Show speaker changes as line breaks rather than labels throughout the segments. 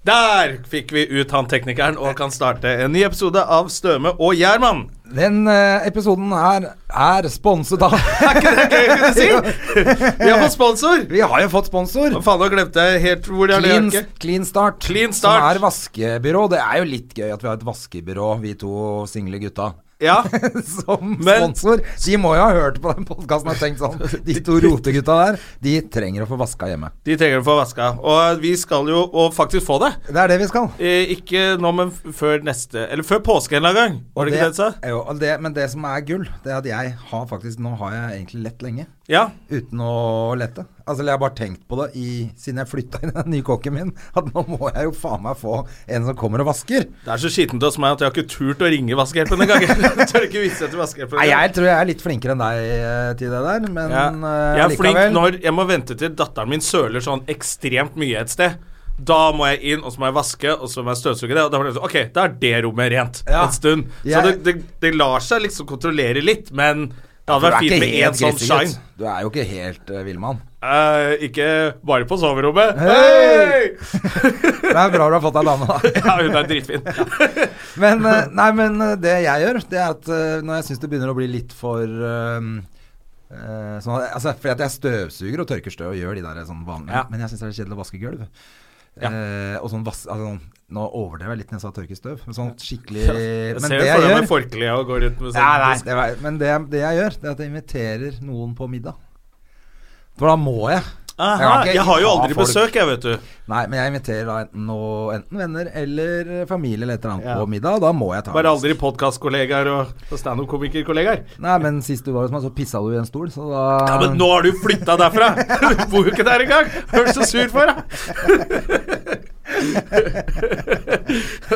Der fikk vi ut han teknikeren og kan starte en ny episode av Støme og Gjerman.
Den eh, episoden her er sponset av
Skal jeg si? Vi har fått sponsor!
Vi har jo fått sponsor!
Å, Faen, nå glemte jeg helt hvor det er. det
Clean,
er ikke.
clean, start,
Clean Start.
Som er vaskebyrå. Det er jo litt gøy at vi har et vaskebyrå, vi to single gutta.
Ja.
Som
Men-
sponsor. De må jo ha hørt på den podkasten og tenkt sånn De to rotegutta der, de trenger å få vaska hjemme.
De trenger å få vaska. Og vi skal jo og faktisk få det.
Det er det vi skal.
Eh, ikke nå, men f- før neste Eller før påske en eller annen gang. Var det ikke det du sa?
Jo, og det, men det som er gull, det er at jeg har faktisk Nå har jeg egentlig lett lenge.
Ja.
Uten å lette. Altså, jeg har bare tenkt på det i, siden jeg flytta inn i den nye kåken min, at nå må jeg jo faen meg få en som kommer og vasker.
Det er så skittent hos meg at jeg har ikke turt å ringe vaskehjelpen engang. Jeg Tør ikke vise det til vaskehjelpen.
Nei, jeg tror jeg er litt flinkere enn deg eh, til det der, men
Ja.
eh,
Jeg er flink
allikevel.
når jeg må vente til datteren min søler sånn ekstremt mye et sted. Da må jeg inn, og så må jeg vaske, og så må jeg støvsuge det. Og da, var det sånn, ok, da er det rommet rent
Ja.
en stund. Så
Jeg-
det, det, det lar seg liksom kontrollere litt, men
Du
det hadde
er
vært fint
ikke
med
helt
én sånn
grisegutt.
shine.
Du er jo ikke helt uh, villmann.
Eh, ikke bare på soverommet.
Hey!
Hey!
Det er bra du har fått deg dame, da.
Ja, hun er dritfin.
Men, eh, nei, men eh, det jeg gjør, det er at eh, når jeg syns det begynner å bli litt for eh, eh, sånn, at- altså, fordi at jeg støvsuger og tørker støv og gjør de der sånn vanlige
Ja.
Men jeg syns det er kjedelig å vaske gulv.
Ja.
Eh, og sånn vas altså, sånn- Nå overdrev jeg litt når jeg sa tørke støv, men sånn skikkelig Men
Jeg ser
det
jo
jeg
for deg med
gjør
forkleet og går rundt med sånn
Nei, nei, det var, Men det, jeg- det jeg gjør, det er at jeg inviterer noen på middag. For da må jeg. Jeg
Aha,
kan ikke
jeg har jo
ha
aldri
folk.
besøk, jeg, vet du.
Nei, men jeg inviterer da enten, noe, enten venner eller familie eller et eller annet på middag. og Da må jeg ta
Bare
en-
aldri podkastkollegaer og og standup-komikerkollegaer.
Nei, men sist du var hos meg, så pissa du i en stol, så da
Ja, men nå har du flytta derfra! Du bor jo ikke der engang! Hva er du så sur for, da?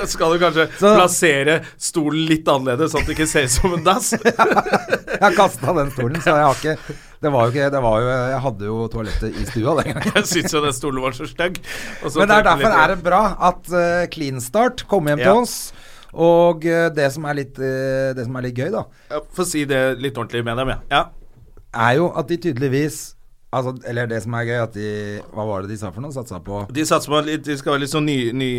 Skal du kanskje
Så-
plassere stolen litt annerledes, sånn at det ikke ser ut som en dass?
Jeg kasta den stolen, så jeg har ikke Det var jo ikke det var jo, Jeg hadde jo toalettet i stua den gangen.
Jeg syns jo den stolen var så stygg. og så
Men det er
tenkte jeg
derfor
litt-
er det bra at eh, Clean Start kom hjem
Ja.
til oss. Og eh, det som er litt eh, Det som er litt gøy, da,
Ja, Få si det litt ordentlig med dem, ja. ja.
er jo at de tydeligvis Altså, eller det som er gøy, at de Hva var det de sa for noe? Satsa på
De satser på litt De skal være litt sånn ny, ny,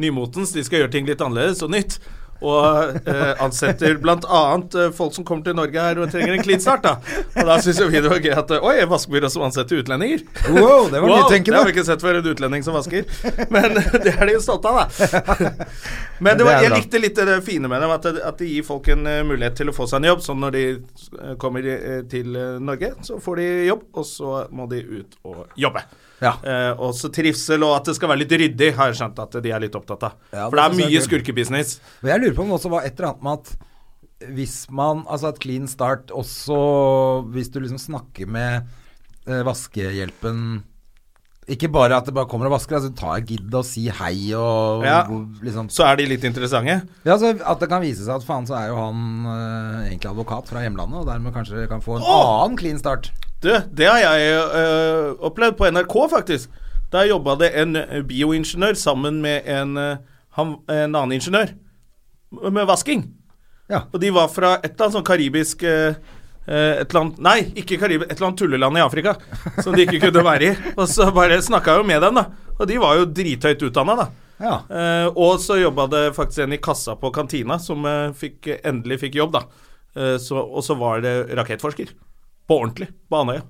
nymotens. De skal gjøre ting litt annerledes og nytt. Og eh, ansetter bl.a. Eh, folk som kommer til Norge her og trenger en clean start. da Og da syns jo vi det var gøy at eh, Oi, vaskebyrå som ansetter utlendinger.
Wow, det var
Det har vi
nytenkende!
ikke sett før, en utlending som vasker. Men det er de jo stolte av, da. Men det
Det
var,
er
jeg
bra.
likte litt det fine med dem, at, det- at de gir folk en eh, mulighet til å få seg en jobb. Så når de eh, kommer eh, til eh, Norge, så får de jobb, og så må de ut og jobbe.
Ja.
Eh, også trivsel, og at det skal være litt ryddig, har jeg skjønt at de er litt opptatt av.
Ja, det
For det er
synes jeg
mye
er kult.
skurkebusiness.
Men jeg lurer på om det også var et eller annet med at hvis man Altså at Clean Start også Hvis du liksom snakker med eh, vaskehjelpen Ikke bare at det bare kommer og vasker, altså ta og gidd å si hei og
Ja.
liksom
Så er de litt interessante.
Ja, så At det kan vise seg at faen så er jo han eh, egentlig advokat fra hjemlandet, og dermed kanskje kan få en
Åh!
annen Clean Start.
Du, det har jeg eh, opplevd på NRK, faktisk. Der jobba det en eh, bioingeniør sammen med en, eh, han, en annen ingeniør med vasking.
Ja.
Og de var fra et eller annet sånn karibisk eh, eh, et eller annet, Nei, ikke Karib, et eller annet tulleland i Afrika som de ikke kunne være i. Og så bare snakka jo med dem, da. Og de var jo drithøyt utdanna, da.
ja.
Eh, og så jobba det faktisk en i kassa på kantina som eh, fikk, endelig fikk jobb, da. Eh, så, og så var det rakettforsker. På ordentlig. På Andøya.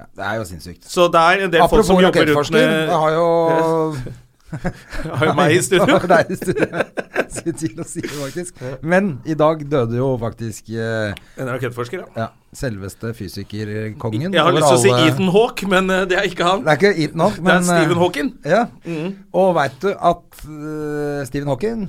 ja. Det er jo sinnssykt.
Så det er en del folk
Apropos
som jobber rundt
rakettforsker,
med
det har jo
eh, har jo meg i studio.
Deg i studio. Sin til å si det, faktisk. Men i dag døde jo faktisk eh,
En rakettforsker, ja.
ja, selveste fysikerkongen.
Jeg har
over
lyst til å si
alle-
Ethan Hawke, men eh, det er ikke han.
Det er ikke Ethan Hawke,
det
men
er Stephen
eh,
Hawking. Mm.
Ja. Og veit du at eh, Stephen Hawking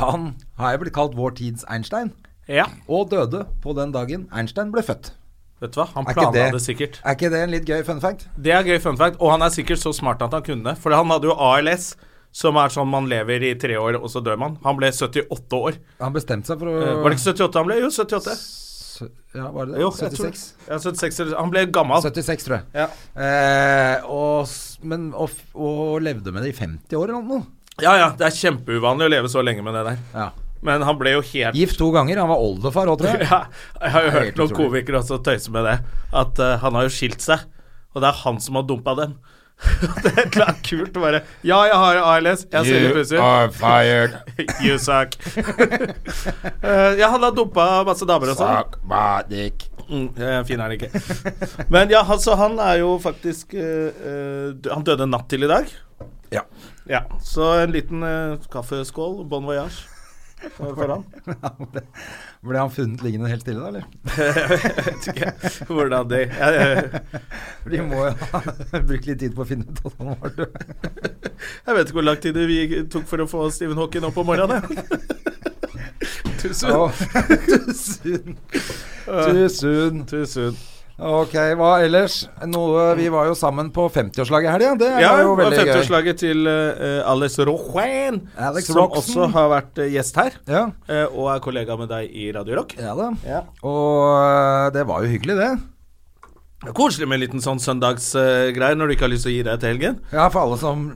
Han har jo blitt kalt vår tids Einstein,
Ja.
og døde på den dagen Einstein ble født.
Vet du hva, han
Er ikke
planla det.
det-
sikkert.
Er ikke det en litt gøy fun fact?
Det er gøy fun fact, og han er sikkert så smart at han kunne det. For han hadde jo ALS, som er sånn man lever i tre år, og så dør man. Han ble 78 år.
Han bestemte seg for å
Eh, Var det ikke 78 han ble? Jo, 78.
Sø- Ja, var det det?
Jo, jeg tror det.
76?
Ja, 76 eller- Han ble gammel.
76, tror jeg.
Ja.
Eh, og, s- men, og, f- og levde med det i 50 år eller noe.
ja ja, det er kjempeuvanlig å leve så lenge med det der.
Ja.
Men han ble jo helt
Gift to ganger. Han var oldefar òg, tror jeg.
ja, Jeg har jo
Det er
hørt
helt
noen
utrolig.
komikere også tøyse med det. At eh, han har jo skilt seg, og det er han som har dumpa dem. det er klart kult å bare Ja, jeg har ALS. Jeg ser litt pussig ut.
fired.
You suck. Eh, ja, han har dumpa masse damer og sånn.
my dick.
Mm, eh, fin er han ikke. Men ja, altså, han er jo faktisk eh, eh, dø- Han døde natt til i dag.
Ja.
Ja, Så en liten eh, kaffeskål, bon voyage, eh, for han.
Ble han funnet liggende helt stille, da, eller?
Hvordan de jeg, jeg,
De må jo ha brukt litt tid på å finne ut at han var død.
jeg vet ikke hvor lang tid det vi tok for å få Stephen Hawking opp om morgenen. jeg. Too soon.
Å, Too soon. Too soon.
Too soon.
Ok, hva ellers? Noe, vi var jo sammen på 50-årslaget i helga. Det
Ja,
var jo
og
veldig gøy.
50-årslaget til eh, Alex Rochén,
Alex
som
Roxen.
også har vært eh, gjest her,
Ja.
eh, og er kollega med deg i Radio Rock.
ja da.
Ja.
Og øh, det var jo hyggelig, det.
Det er Koselig med en liten sånn søndagsgreie når du ikke har lyst til å gi deg til helgen.
Ja, for alle som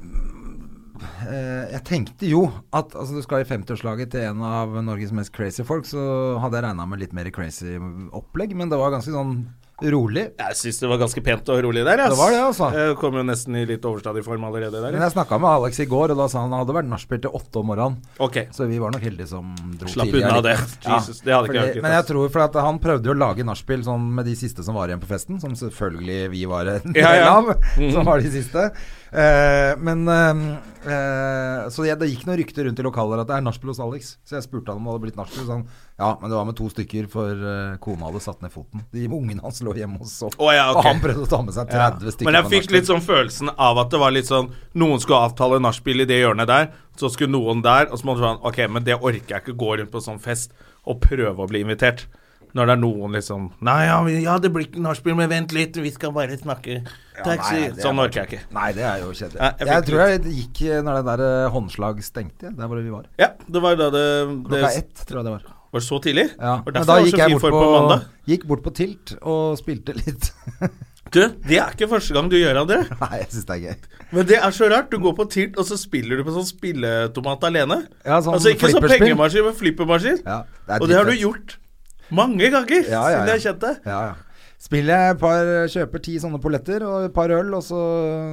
eh, Jeg tenkte jo at altså, du skal i 50-årslaget til en av Norges mest crazy folk, så hadde jeg regna med litt mer crazy opplegg, men det var ganske sånn rolig.
Jeg syns det var ganske pent og rolig der. ass.
Det var det, altså.
Jeg kom jo nesten i litt overstadig form allerede der.
Men jeg snakka med Alex i går, og da sa han det hadde vært nachspiel til åtte om morgenen.
Ok.
Så vi var nok heldige som dro
Slapp
tidligere.
unna det. Jesus, det hadde ikke
fordi,
jeg orket,
Men jeg
ass.
tror for at han prøvde jo å lage nachspiel sånn med de siste som var igjen på festen, som selvfølgelig vi var en del
Ja, ja. Mhm.
av, som var de siste. Eh, men eh, eh, Så jeg, det gikk noen rykter rundt i lokalet der at det er nachspiel hos Alex. Så jeg spurte han om det hadde blitt nachspiel. Så han ja, men det var med to stykker, for eh, kona hadde satt ned foten. De ungene hans lå hjemme hos oss.
Å, ja, ok.
Og han prøvde å ta med seg 30 stykker.
Men jeg
på
fikk
nachspiel.
litt sånn følelsen av at det var litt sånn Noen skulle avtale nachspiel i det hjørnet der, så skulle noen der, og så måtte man Ok, men det orker jeg ikke gå rundt på sånn fest og prøve å bli invitert. Når det er noen liksom Nei, ja, vi- ja det blir ikke nachspiel, men vent litt, vi skal bare snakke taxi.
nei, det er
sånn orker jeg ikke.
Nei, det er jo kjedelig.
Nei,
Jeg,
jeg fikk
tror jeg gikk eh, når det der eh, håndslag stengte, jeg, der hvor vi var.
Ja, det var jo da det,
Klokka
det
ett, tror jeg det var.
Var det så tidlig?
Ja.
Og
Men
derfor
da
var det
gikk
så
jeg
fin
bort
form
på,
på mandag.
gikk bort på Tilt og spilte litt.
Du, det er ikke første gang du gjør det.
Nei, jeg syns det er gøy.
Men det er så rart. Du går på tilt, og så spiller du på sånn spilletomat alene.
Ja, sånn
altså ikke sånn
flipperspill.
pengemaskin, men flippermaskin.
Ja, det er
og det har du
dritfett.
gjort mange ganger
Ja, ja,
siden jeg
ja.
har kjent deg.
Ja, ja. Spiller jeg et par, eh, kjøper ti sånne polletter og et par øl, og så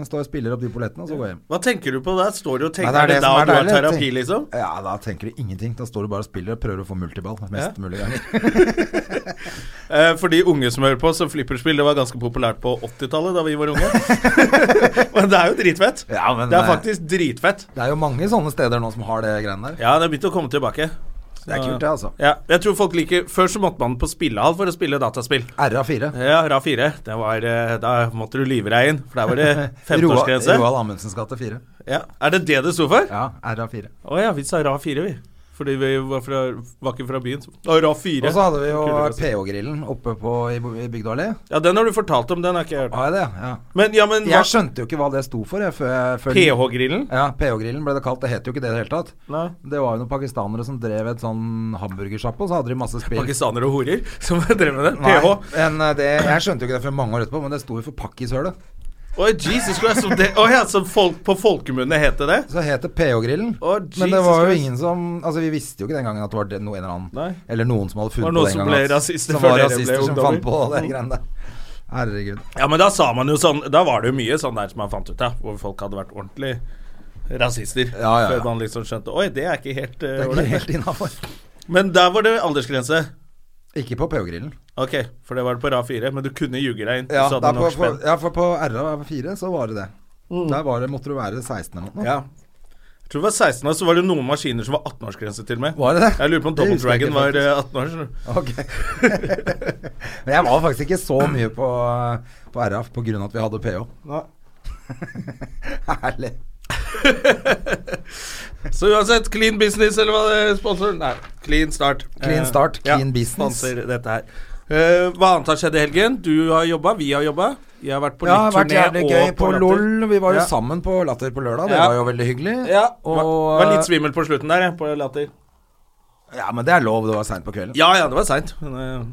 står jeg og spiller opp de pollettene, og så går jeg hjem.
Hva tenker du på da? Står du og
Nei,
tenker det, da du har terapi, liksom?
Ja, da tenker du ingenting. Da står du bare og spiller og prøver å få multiball mest
Ja.
mulig ganger.
Eh, for de unge som hører på, så flipperspill det var ganske populært på 80-tallet, da vi var unge. men det er jo dritfett.
Ja, men,
det er
eh,
faktisk dritfett.
Det er jo mange sånne steder nå som har det greiene der.
Ja, det har begynt å komme tilbake.
Det er kult, det, altså.
Ja, jeg tror folk liker Før så måtte man på spillehall for å spille dataspill.
RA4.
Ja, RA4. Det var, eh, da måtte du lyve deg inn, for der var det
Roa-
15-årsgrense.
Roald Amundsens gate 4.
Ja. Er det det det sto for?
Ja, RA4.
Å ja, vi sa RA4, vi. Fordi vi var, fra, var ikke fra byen. Så. Å, RA4.
Og så hadde vi jo
Kule plasser.
PH-grillen oppe på, i, Bo- i Bygdø allé.
Ja, den har du fortalt om, den har ikke jeg hørt.
Har jeg det? Ja.
Men ja, men hva
Jeg skjønte jo ikke hva det sto for, jeg, før jeg før
PH-grillen?
Ja, PH-grillen ble det kalt. Det het jo ikke det i det hele tatt.
Nei.
Det var jo noen pakistanere som drev et sånn hamburgersjappe, og så hadde de masse spill.
Pakistanere og horer som drev med det?
Nei,
PH?
men eh, det, jeg skjønte jo ikke det før mange år etterpå, men det sto jo for pakkishølet.
Oi, Jesus Christ. Som det, å ja, som folk, på folkemunne het det det?
Så het det PH-grillen.
Å,
men det
Jesus
var jo
Christ.
ingen som Altså, vi visste jo ikke den gangen at det var det- no, en eller annen
Nei.
Eller noen som hadde funnet på
Var det noen
den
som
gangen.
ble
at-
rasister
som
før
var
dere ble
rasister som
ungdommer?
fant på det greiene der. Herregud.
Ja, men da sa man jo sånn Da var det jo mye sånn der som man fant ut av, hvor folk hadde vært ordentlig rasister.
Ja, ja, ja.
Før man liksom skjønte Oi, det er ikke helt eh,
Det er
ålreit.
ikke helt innafor.
Men der var det aldersgrense.
Ikke på PH-grillen.
Ok, for det var det på rad 4, men du kunne ljuge deg inn.
Ja,
så
da
hadde du
på,
nok
på,
spenn.
ja, for på RA4 så var det det. Der var det, måtte du være 16 eller noe.
Mm. Ja. Jeg tror det var 16 år, så var det noen maskiner som var 18-årsgrense til og med.
Var det det?
Jeg lurer på om
Det
Double
husker jeg
Dragon
ikke
var
faktisk.
eh, 18 år. skjønner du.
Ok. Men jeg var faktisk ikke så mye på, på RAF på grunn av at vi hadde PH. Herlig.
Så uansett, clean business eller hva det er sponsor Nei, clean start.
Clean start,
Eh,
clean business.
Sponsor dette her. Eh, hva annet har skjedd i helgen? Du har jobba, vi har jobba. Jeg har vært på
ja, det har vært
litt
jævlig
turné
gøy
og
på
Latter.
LOL. Vi var jo
Ja.
sammen på Latter på lørdag, det
Ja.
var jo veldig hyggelig.
Ja, eh,
og,
var, var litt svimmel på slutten der, jeg, på Latter.
ja, men det er lov, det var seint på kvelden.
Ja ja, det var seint. men, eh,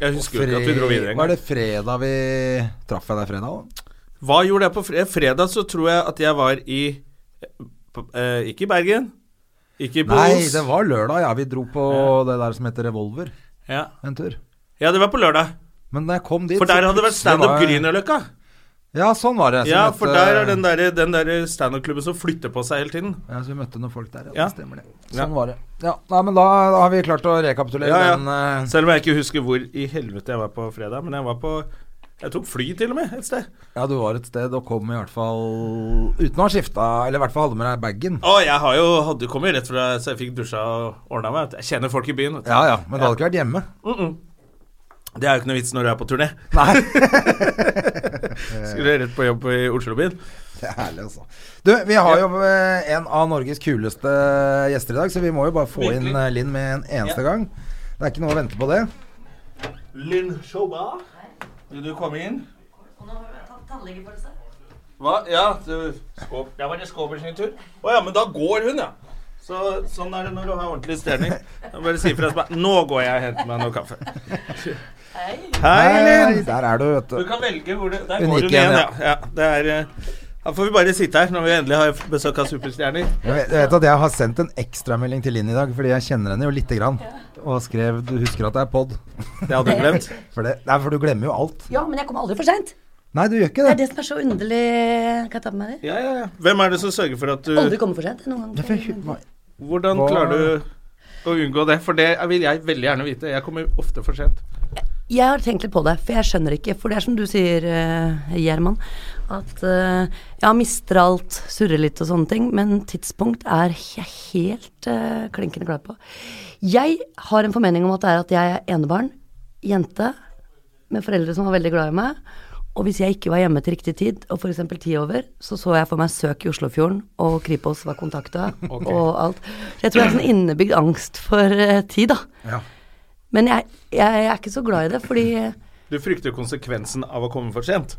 Jeg husker jo ikke at vi dro videre
Var
engang.
det fredag vi traff deg der fredag òg?
Hva gjorde jeg på fredag? Fredag så tror jeg at jeg var i på, eh, Ikke i Bergen. Ikke i
Nei,
Bohus.
det var lørdag, ja. Vi dro på det der som heter Revolver
Ja.
en tur.
ja, det var på lørdag.
Men da jeg kom dit
For der hadde det vært standup
Grüner.
Grünerløkka.
Ja, sånn var det. Så
Ja,
vi
for
møtte-
der er den derre der standup-klubben som flytter på seg hele tiden.
Ja, så vi møtte noen folk der, ja.
Ja.
Det stemmer det.
Ja.
Sånn var det. Ja, nei, men da, da har vi klart å rekapitulere
Ja, ja.
den eh,
Selv om jeg ikke husker hvor i helvete jeg var på fredag, men jeg var på Jeg tok fly til og med et sted.
Ja, du var et sted og kom i hvert fall uten å ha skifta, eller i hvert fall hadde med deg bagen.
Å, jeg har jo hadde kommet rett fra så jeg fikk dusja og ordna meg. vet du. Jeg kjenner folk i byen. Vet du.
Ja ja, men du hadde ikke vært hjemme.
Det er jo ikke noe vits når du er på turné.
Nei.
Skulle rett på jobb i Oslobyen.
Det er herlig, altså. Du, vi har jo eh, en av Norges kuleste gjester i dag, så vi må jo bare få inn eh, Linn med en eneste gang. Det er ikke noe å vente på det.
Linn Shoba, vil du komme inn? Hva? Ja, du, skåp. Ja, var det Skåber sin tur? Å ja, men da går hun, ja. Så, sånn er det når du har ordentlig stemning. Da Bare si fra som er Nå går jeg og henter meg noe kaffe. Hei. Linn.
Der er du, vet
Du
du.
kan velge hvor du Der
Hun
går
gikk
hun igjen,
igjen,
ja. ja. Det er eh, Her får vi bare sitte her når vi endelig har besøk av superstjerner.
Jeg vet, jeg vet at jeg har sendt en ekstramelding til Linn i dag, fordi jeg kjenner henne jo lite grann. Og skrev 'Du husker at det er pod'?
Det hadde hun glemt.
For det, nei, for du glemmer jo alt.
Ja, men jeg kommer aldri for seint.
Nei, du gjør ikke det.
Det er det som er så underlig. Kan jeg ta på meg det?
Ja, ja, ja. Hvem er det som sørger for at
Aldri
du
kommer for seint. Noen
Ja, for jeg hu- hva-
Hvordan
Hva-
klarer du å unngå det? For det vil jeg veldig gjerne vite. Jeg kommer ofte for sent.
Jeg har tenkt litt på det, for jeg skjønner ikke. For det er som du sier, eh, Gjerman, at eh, ja, mister alt, surrer litt og sånne ting. Men tidspunkt er jeg helt eh, klinkende klar på. Jeg har en formening om at det er at jeg er enebarn, jente, med foreldre som var veldig glad i meg. Og hvis jeg ikke var hjemme til riktig tid, og f.eks. ti over, så så jeg for meg søk i Oslofjorden, og Kripos var kontakta, og alt. Så jeg tror jeg har sånn innebygd angst for eh, tid, da. Men jeg, jeg er ikke så glad i det, fordi jeg
Du frykter konsekvensen av å komme for sent.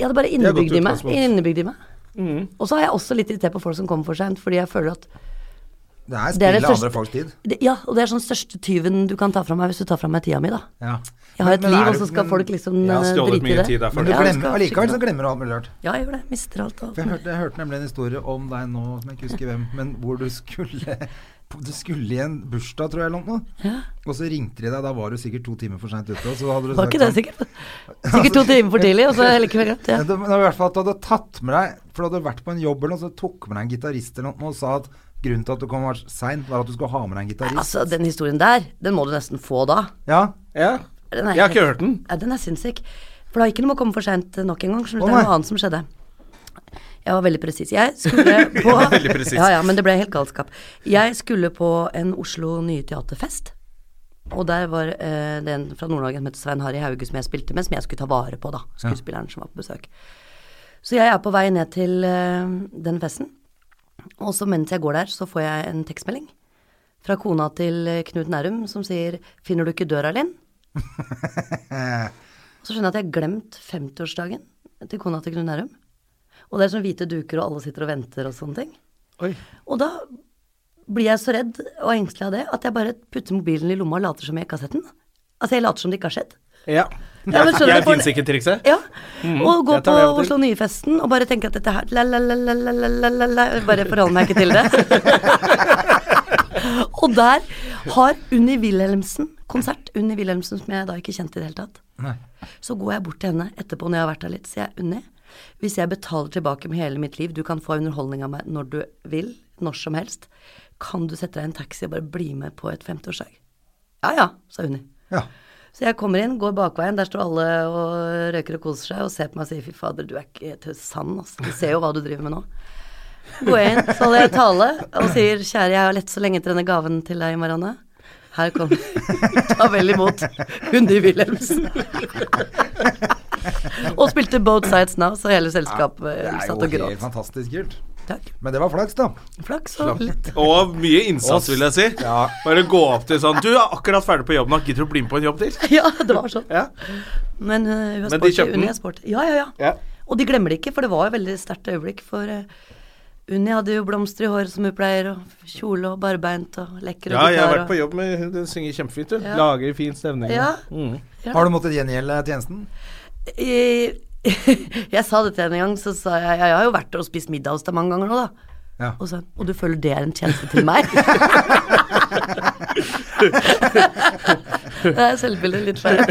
hadde bare
er godt
innebygd i meg.
utgangspunkt. Mm.
Innebygd i meg. Og så er jeg også litt irritert på folk som kommer for seint, fordi jeg føler at
Det er
Det er det
spillet andre
første-
folks tid.
det, Ja, og det er sånn største tyven du kan ta fra meg hvis du tar fra meg tida mi, da.
Ja.
Jeg har et liv,
er
og
du-
så skal folk liksom
Jeg har
eh,
stjålet
drite i
mye
det.
tid der,
Men du
Ja,
jeg
glemmer,
skal
allikevel så
skikkelig-
glemmer du alt mulig rart.
Ja, jeg gjør det. Mister alt. alt.
For jeg hørte, jeg hørte nemlig en historie om deg nå som jeg ikke husker hvem, men hvor du skulle Du skulle i en bursdag, tror jeg, eller noe.
Ja.
Og så ringte de deg, da var du sikkert to timer for seint ute. Og så hadde du
Var
sagt
ikke
sånn-
det sikkert? Sikkert to timer for tidlig, og så likevel glemt. Ja.
Men det men det var i hvert fall at du hadde tatt med deg For du hadde vært på en jobb eller noe, så tok med deg en gitarist eller noe og sa at grunnen til at du kom seint, var at du skulle ha med deg en gitarist.
Altså, den historien der, den må du nesten få da.
Ja.
Ja.
Den er
Jeg har
helt-
ikke hørt den.
Ja, den er sinnssyk. For det har ikke noe med å komme for seint nok en gang. skjønner du,
Å,
det er
nei.
noe annet som skjedde. Jeg var veldig presis. Jeg skulle på
var veldig presis.
Ja, ja, men det ble helt galskap. Jeg skulle på en Oslo Nye Teaterfest. Og der var eh, det en fra Nord-Norge som het Svein Harry Hauge, som jeg spilte med, som jeg skulle ta vare på, da. Skuespilleren som var på besøk. Så jeg er på vei ned til eh, den festen. Og så mens jeg går der, så får jeg en tekstmelding fra kona til eh, Knut Nærum som sier 'Finner du ikke døra, Linn?' Og så skjønner jeg at jeg har glemt 50-årsdagen til kona til Knut Nærum. Og det er sånn hvite duker, og alle sitter og venter og sånne ting.
Oi.
Og da blir jeg så redd og engstelig av det at jeg bare putter mobilen i lomma og later som jeg ikke har sett den. Altså, jeg later som det ikke har skjedd.
Ja.
Ja, men skjønner
jeg
du, for-
finnes ikke trikset. Mm-hmm.
Ja. og gå
jeg
på
tar det av og til.
Oslo Nye-festen og bare tenke at dette her la, la, la, la, la, la, la, la, la, Bare forholde meg ikke til det. og der har Unni Wilhelmsen konsert. Unni Wilhelmsen som jeg da ikke kjente i det hele tatt. Så går jeg bort til henne etterpå når jeg har vært der litt, sier jeg Unni. Hvis jeg betaler tilbake med hele mitt liv, du kan få underholdning av meg når du vil, når som helst, kan du sette deg i en taxi og bare bli med på et 50-årsdag? Ja ja, sa Unni.
ja.
Så jeg kommer inn, går bakveien, der står alle og røyker og koser seg, og ser på meg og sier fy fader, du er ikke til sann, altså. Du ser jo hva du driver med nå. Går jeg inn, så holder jeg tale og sier kjære, jeg har lett så lenge etter denne gaven til deg, Marianne. Her kommer Ta vel imot Hundi Wilhelmsen. og spilte Both Sides Now, så hele selskapet
Det
eh,
er jo
satt og
helt
gråt.
fantastisk kult.
Takk.
Men det var flaks, da.
Flaks og litt
Og mye innsats, vil jeg si.
Ja.
Bare gå opp til sånn Du er akkurat ferdig på jobb nå, gidder du bli med på en jobb til?
Ja, det var sånn.
Ja.
Men eh, hun er
Men de
sporty.
kjøpte
Unni
den?
er sporty. Ja, ja, ja.
Ja.
Og de glemmer det ikke, for det var jo et veldig sterkt øyeblikk. For eh, Unni hadde jo blomster i håret som hun pleier, og kjole og barbeint og lekker
Ja, jeg har
gitar
vært på jobb med hun, den synger kjempefint, hun.
Ja.
Lager fin stemning. Mm.
Ja. Ja.
Har du måttet gjengjelde tjenesten?
Eh, jeg sa det til henne en gang, så sa jeg Jeg har jo vært og spist middag hos deg mange ganger nå, da.
Ja.
Og så sa hun Og du føler det er en tjeneste til meg? det er selvbildet litt feil.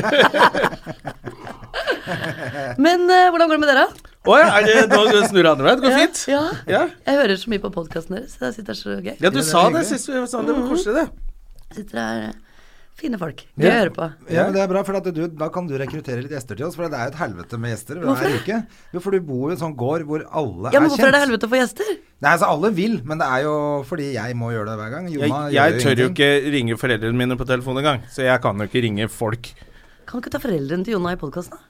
Men eh, hvordan går det med dere?
Å ja, er det, nå snur det andre veien. Det går fint.
Ja,
Ja.
Jeg hører så mye på podkasten deres. Jeg synes det er så gøy.
Ja, du
det er
sa det
hyggelig.
sist vi sa det. Det var koselig, det.
Sitter her eh, fine folk. Gøy å høre på.
Ja, men det er bra, for at du, da kan du rekruttere litt gjester til oss. For det er jo et helvete med gjester hver
Hvorfor?
uke. Jo, for du bor jo i en sånn gård hvor alle
Ja, men
er
hvorfor er det
kjent.
helvete for gjester?
Nei, altså alle vil, men det er jo fordi jeg må gjøre det hver gang.
Jeg,
Jonna
jeg
gjør
tør jo
ingenting.
ikke ringe foreldrene mine på telefon engang, så jeg kan jo ikke ringe folk.
Kan du ikke ta foreldrene til Jonna i podkasten, da?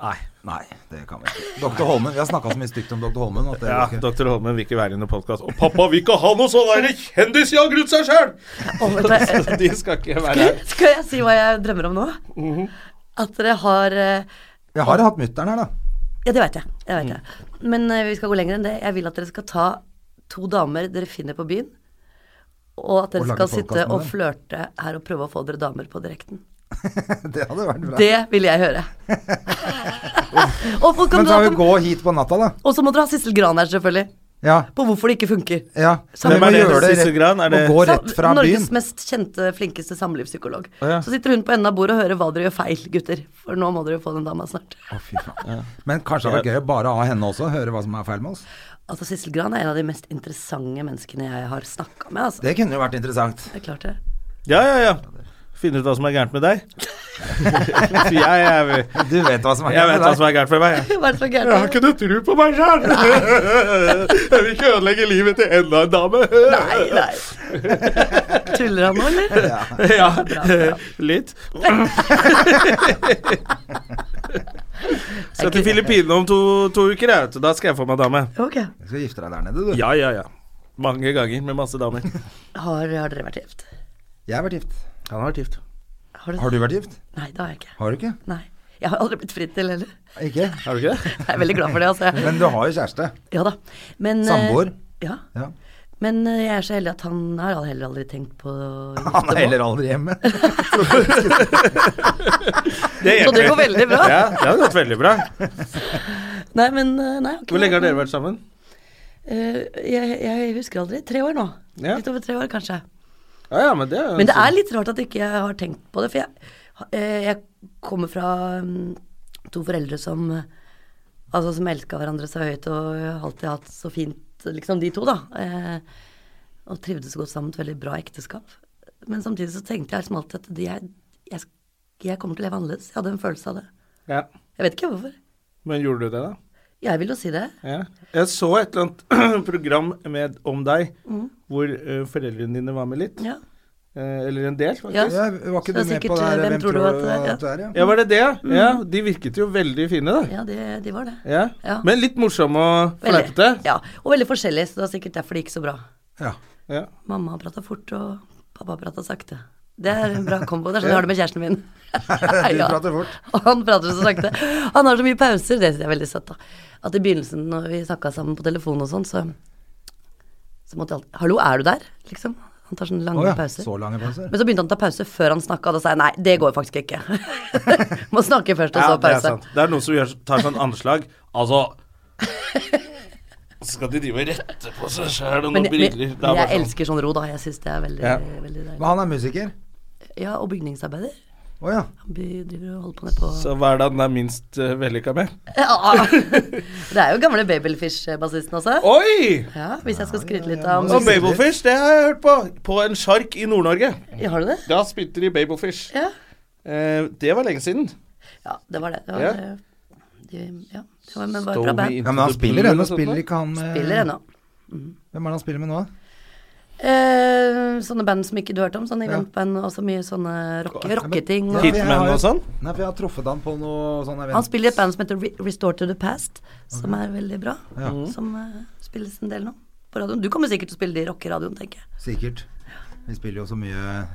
Nei, nei, det kan vi ikke. Dr. Holmen, vi har snakka så mye stygt om Dr. Holmen at det
Ja,
går ikke.
Dr. Holmen vil ikke være under podkast. Og pappa vil ikke ha noe sånn derre kjendisjag rundt seg sjøl!
Å, vet du hva, jeg-
De skal ikke være her.
Skal jeg si hva jeg drømmer om nå?
Mhm.
At dere har eh,
Jeg har hatt mutter'n her, da.
Ja, det veit jeg. Det vet jeg. Men eh, vi skal gå lenger enn det. Jeg vil at dere skal ta to damer dere finner på byen, og at dere
Og lage
skal
podcast
sitte
med
og
dem.
flørte her og prøve å få dere damer på direkten.
Det hadde vært bra.
Det vil jeg høre. og, folk kan
Men
dra
så vi
til-
gå hit på natta, da.
og så må dere ha Sissel Gran her, selvfølgelig.
Ja.
På hvorfor det ikke funker.
ja.
Hvem
vi må
er det,
gjøre
Sissel
rett-
Gran? Er det-
Må gå rett fra
Norges
byen.
mest kjente, flinkeste samlivspsykolog.
ja.
Så sitter hun på enden av bordet og hører hva dere gjør feil, gutter. For nå må dere jo få den dama snart.
Å, fy faen. Men kanskje det hadde vært gøy å bare ha henne også, høre hva som er feil med oss.
Altså, Sissel Gran er en av de mest interessante menneskene jeg har snakka med, altså. Det,
Det kunne jo vært interessant.
er klart det.
Ja, ja, ja. Finne ut hva som er gærent med deg. For jeg, jeg,
Du vet hva som er
jeg
gærent med
vet hva
deg.
som er gærent med meg. jeg.
Hva er det som er gærent?
ikke noe tro på meg sjøl! Jeg vil ikke ødelegge livet til enda en dame.
Nei, nei. Tuller han nå, eller?
Ja,
Bra, bra.
litt. Skal til Filippinene om to, to uker, jeg, vet du. Da skal jeg få meg dame.
Ok.
Du skal gifte deg der nede, du.
Ja, ja, ja. Mange ganger med masse damer.
Har, har dere vært gift?
Jeg har vært gift.
Han har vært gift.
Har,
Har du vært gift?
Nei, det har jeg ikke.
Har du ikke?
Nei. Jeg har aldri blitt fridd til heller.
Ikke?
Har du ikke det?
Jeg er veldig glad for det, altså. Jeg-
Men du har jo kjæreste.
Ja da. Men, eh,
Samboer.
Ja.
Ja.
Men eh, jeg er så heldig at han har all- heller aldri tenkt på å gifte
Han er
meg.
heller aldri hjemme.
Så det går veldig bra.
Ja, det har gått veldig bra.
Nei, men eh, nei, ok.
Hvor lenge har dere vært sammen?
Eh, jeg, jeg husker aldri. Tre år nå.
Ja.
Litt over tre år, kanskje.
Ja, ja, men det er jo sånn.
Men det er litt rart at ikke jeg har tenkt på det, for jeg, eh, jeg kommer fra mm, to foreldre som eh, Altså som elska hverandre så høyt og har alltid hatt så fint, liksom de to, da. Eh, og trivdes godt sammen. Et veldig bra ekteskap. Men samtidig så tenkte jeg liksom alltid at de er, jeg, jeg kommer til å leve annerledes. Jeg hadde en følelse av det.
ja.
Jeg vet ikke hvorfor.
Men gjorde du det, da?
Jeg vil jo si det.
Ja. Jeg så et eller annet program med, om deg
Mm.
hvor eh, foreldrene dine var med litt.
Ja.
Eh, eller en del, faktisk.
Ja.
Ja, var ikke
Så
du
det er
med på
sikkert,
det her?
eh, hvem tror du at det er?
at du er? Ja.
Ja, var det det?
Mm.
Ja, De virket jo veldig fine, da.
Ja, de, de var det.
Ja.
Ja.
Men litt morsomme og
Veldig.
fleipete.
Ja, og veldig forskjellig, så det var sikkert derfor det gikk så bra.
Ja.
Ja.
Mamma prata fort, og pappa prata sakte. Det er en bra kombo. Det er sånn jeg har det med kjæresten min.
Du
Ja.
prater fort.
Og han prater så sakte. Han har så mye pauser, det syns jeg er veldig søtt, da. At i begynnelsen, når vi snakka sammen på telefon og sånn, så, så måtte jeg alltid Hallo, er du der? Liksom. Han tar sånne lange
Å ja.
pauser.
Så lange pauser.
Men så begynte han å ta pause før han snakka, og da sa jeg nei, det går faktisk ikke. Må snakke først, og
Ja,
så
det er
pause.
sant. Det er noen som gjør, tar sånn anslag. Altså Så skal de drive og rette på seg sjæl og
Men,
noen briller. Det
men,
er
men
bare
jeg
sånn.
elsker sånn ro, da. Jeg syns det er veldig,
Ja.
veldig deilig.
Men han er musiker.
Ja, og bygningsarbeider.
Å ja.
Han by- driver og holder på ned på
Så hva er det han er minst uh, vellykka med?
Ja. Det er jo gamle Babelfish-bassisten også.
Oi!
Ja, hvis jeg skal skryte litt av
Og Babelfish, det har jeg hørt på. På en sjark i Nord-Norge.
Ja, Har du det?
Da spilte de Babelfish.
Ja.
Eh, det var lenge siden.
Ja, det var det. det var,
Ja.
eh, de- ja, det var, men det var et bra
Stole
band.
ja men han eh,
into the
spiller
blue
ennå.
og sånt
Spiller
noe.
ikke han med
Spiller ennå.
Hvem er det han spiller med nå?
Eh, sånne band som ikke du hørte om, sånne
Ja.
eventband og så mye sånne rock, rocketing.
Ja,
Og,
for jeg har
Hitman
jo-
og sånn?
Nei, for jeg har truffet han på noe sånn event.
han spiller i et band som heter Re Restore to the Past, som er veldig bra.
Ja. Mhm.
Som eh, spilles en del nå på radioen. Du kommer sikkert til å spille det i rockeradioen, tenker jeg.
Sikkert. Vi spiller jo så mye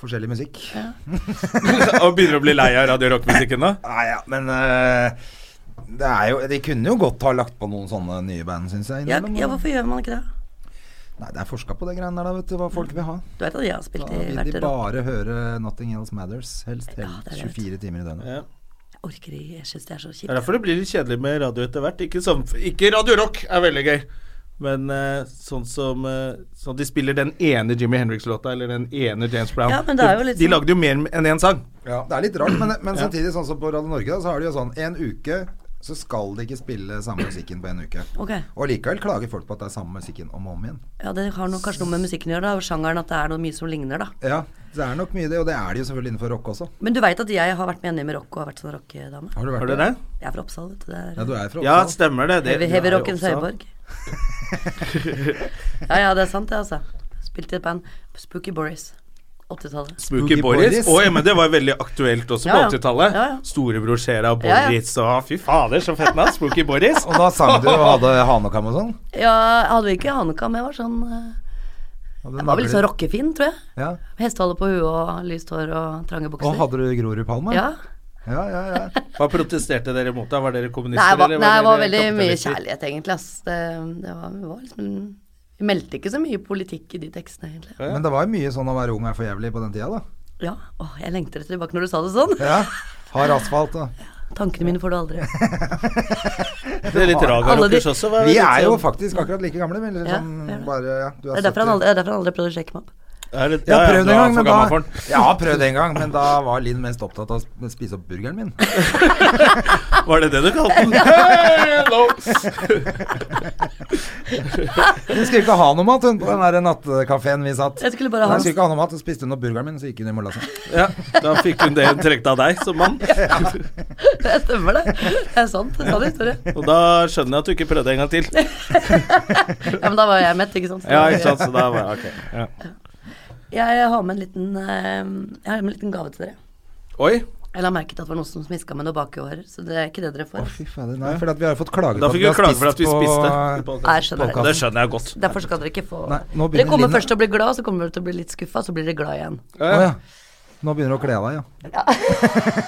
forskjellig musikk.
Og begynner å bli lei av radio- og rockmusikken, da?
Nei, Ah, ja, men eh, det er jo De kunne jo godt ha lagt på noen sånne nye band, syns jeg.
Ja,
innimellom.
ja, hvorfor gjør man ikke det?
Nei, det er forska på det greiene der, da, vet du. Hva folk vil ha.
Du vet at jeg har spilt
Da
i
vil
hvert
de
rock.
bare høre 'Nothing Else Matters', helst
Ja,
helt
det er det, vet du.
24 timer i døgnet.
Ja.
Jeg orker ikke, jeg syns det er så
Det er
kjipt.
derfor det blir litt kjedelig med radio etter hvert. Ikke, som, ikke radio rock er veldig gøy, men eh, sånn som eh, sånn de spiller den ene Jimmy Henriks-låta, eller den ene James Brown
Ja, men det er jo litt
De
sånn-
lagde jo mer enn én sang.
Ja, det er litt rart, men, men samtidig, sånn som på Radio Norge, da, så har de jo sånn En uke så skal de ikke spille samme musikken på en uke.
Ok.
Og likevel klager folk på at det er samme musikken om og om igjen.
Ja, det har noe, kanskje noe med musikken å gjøre, da. Og sjangeren at det er noe mye som ligner, da.
Ja, det er nok mye det, og det er det jo selvfølgelig innenfor rock også.
Men du veit at jeg har vært med Jenny med rock og har vært sånn rockedame?
Har du vært
Har du det?
Jeg er fra Oppsal, vet du. Det er
Ja, du er fra
Ja,
Oppsal.
stemmer det. det
heavy,
det
heavy
er jo
rockens
også-
høyborg. ja, ja, det er sant, det, altså. Spilte i et band. Spooky Boris. 80-tallet.
Spooky
Spooky
Boris.
Boris.
Å, ja, men det var veldig aktuelt også på
Ja, ja.
80-tallet.
Ja, ja.
Storebror Skjera og
Ja, ja.
Boris og ah, Fy fader, så fett navn! Spooky Boris.
Og da sang du og hadde hanekam og sånn?
Ja, jeg hadde jo ikke hanekam, jeg var sånn eh,
Hadde
Jeg var vel litt sånn
nagler.
rockefin, tror jeg.
Ja.
Hestehale på huet og lyst hår og trange bukser.
Og hadde du Grorudpalme?
ja.
ja, ja. ja.
Hva protesterte dere mot da? Var dere kommunister?
Nei, jeg var,
eller
nei, det var
dere
veldig mye
kapitalister?
kjærlighet, egentlig. Ass. Det, det var, vi var liksom Vi meldte ikke så mye politikk i de tekstene, egentlig.
Men det var jo mye sånn å være ung er for jævlig på den tida, da.
Ja. Åh, jeg lengter etter tilbake når du sa det sånn.
Ja. Hard asfalt og
Tankene mine får du aldri.
Det er litt
Alle de-
raga-rockers også. var
Vi
litt
er jo
sånn-
faktisk akkurat like gamle, men
Ja,
liksom
vi er det.
bare ja, du er
Det er derfor
70.
han aldri, det er derfor han aldri prøvde å sjekke meg opp.
Er det-
Jeg
ja,
har
ja,
prøvd en
du er
gang,
for
men
gammel for den.
da, jeg har prøvd en gang, men da var Linn mest opptatt av å spise opp burgeren min.
Var det det du kalte den? Hello!
Hun skulle ikke ha noe mat hun, på den der nattkafeen vi satt.
Jeg skulle bare ha
Hun skulle ikke ha noe mat, hun spiste hun opp burgeren min, så gikk hun i molla seg.
Ja, da fikk hun det hun trengte av deg som mann.
Det stemmer, det. Det er sant. Det er sann historie.
Og da skjønner jeg at du ikke prøvde en gang til.
Ja, men da var jeg mett, ikke sant. Så
Ja, ikke sant, så da var ok. Ja.
Jeg har med en liten, eh, jeg har med en liten gave til dere.
Oi,
Jeg la merke til at det var noen som smiska med noe bak i håret, så det er ikke det dere får.
Fy fader, nei, for at vi har fått klager
da fikk vi
har
klage for at vi
spist
spiste.
på-
Nei, jeg skjønner
Podcast.
det.
Det skjønner jeg godt.
Derfor skal dere ikke få
Nei, nå begynner
Dere kommer
Linn-
først til å bli glad, så kommer dere til å bli litt skuffa, så blir dere glad igjen.
Å ja. Nå begynner du å kle av deg, ja.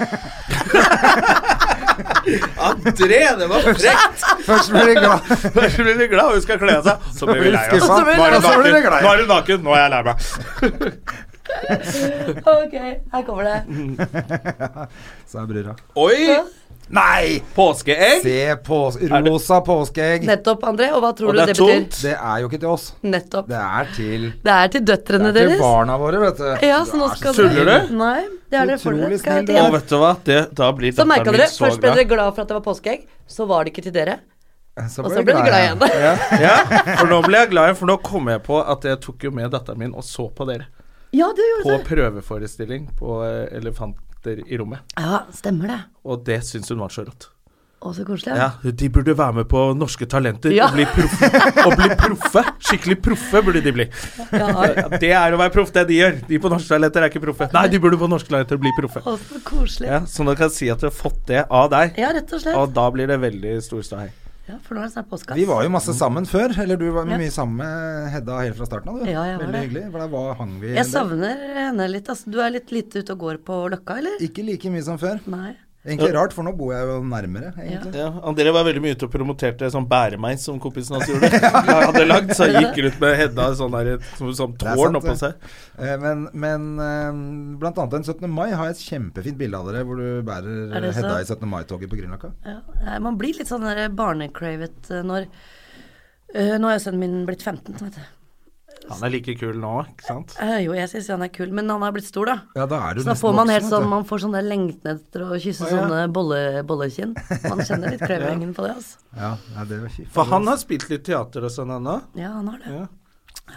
André, det var frekt!
Først blir du glad.
Så blir vi glad, hun skal kle av seg. Så blir vi lei oss.
Skuffa.
Og så blir vi
Nå er
lei
hun
oss. Så blir vi glad, ja.
naken, nå er hun naken, nå er jeg lei meg.
Ok, her kommer det.
Sa brura.
Oi!
Nei!
Påskeegg?
Se på rosa påskeegg.
Nettopp, André. Og hva tror
Og
du
det er
det betyr?
tomt.
Det er jo ikke til oss.
Nettopp.
Det er til
Det er til
det
døtrene
er til
deres.
barna våre, vet du.
Ja, så nå
Du er
skal
så
Tuller
dere
du?
Nei, det er dere for dere.
Utrolig
Skal jeg
snill du
til
Å,
er.
hjem?
vet du hva, det, da blir
Så merka
datteren
dere.
min så
Først ble
glad.
dere glad for at det var påskeegg, så var dere ikke til dere.
Så
Og så ble du glad igjen.
Ja.
Ja, for nå ble jeg glad igjen, for nå kom jeg på at jeg tok jo med datteren min og så på dere.
Ja, det
På
gjorde sånn. det.
prøveforestilling på eh, Elefanter i rommet.
Ja, stemmer det.
Og det syns hun var så rått.
Å, så koselig.
Ja, De burde være med på Norske Talenter
Ja.
og, bli proffe, og bli proffe. Skikkelig proffe burde de bli.
Ja,
Ja, Det er å være proff, det de gjør. De på Norske Talenter er ikke proffe. Nei, de burde på Norske Talenter bli proffe.
Å, så koselig.
Ja, så da kan jeg si at du har fått det av deg,
Ja, rett og slett.
og da blir det veldig stor ståhei.
Ja, for nå er det snart påske. ass.
Vi var jo
Mm.
masse sammen før. Eller du var
Ja.
mye sammen med Hedda helt fra starten av, du.
Ja, jeg var
Veldig
det.
hyggelig. For da var, hang vi en
Jeg
del.
savner henne litt. ass. Du er litt lite ute og går på Løkka, eller?
Ikke like mye som før.
Nei.
Egentlig rart, for nå bor jeg jo nærmere, egentlig.
Ja, André var veldig mye ute og promoterte sånn bæremeis som kompisen hans gjorde. Han hadde lagd, så han gikk rundt med Hedda sånn der, som sånn
er
tårn
sant,
oppå
det.
seg.
Eh, Men, men eh, blant annet den 17. mai har jeg et kjempefint bilde av dere hvor du bærer
Er det
Hedda
sant?
i 17. mai-toget på Grünerløkka.
Ja. Nei, Man blir litt sånn der barnecravet eh, når Eh, Nå er jo sønnen min blitt 15, vet du.
Han er like kul nå, ikke sant?
Eh, jo, jeg syns han er kul, men han er blitt stor, da.
Ja, da er du
Så da
nesten
får man helt
voksen,
sånn
vet du.
Man får sånn der lengten etter å
Å,
kysse
ja.
sånne bolle, bollekinn. Man kjenner litt krevingen på det, altså.
Ja, ja, det var kjipt.
For han har spilt litt teater og sånn ennå.
Ja, han har det.
Ja.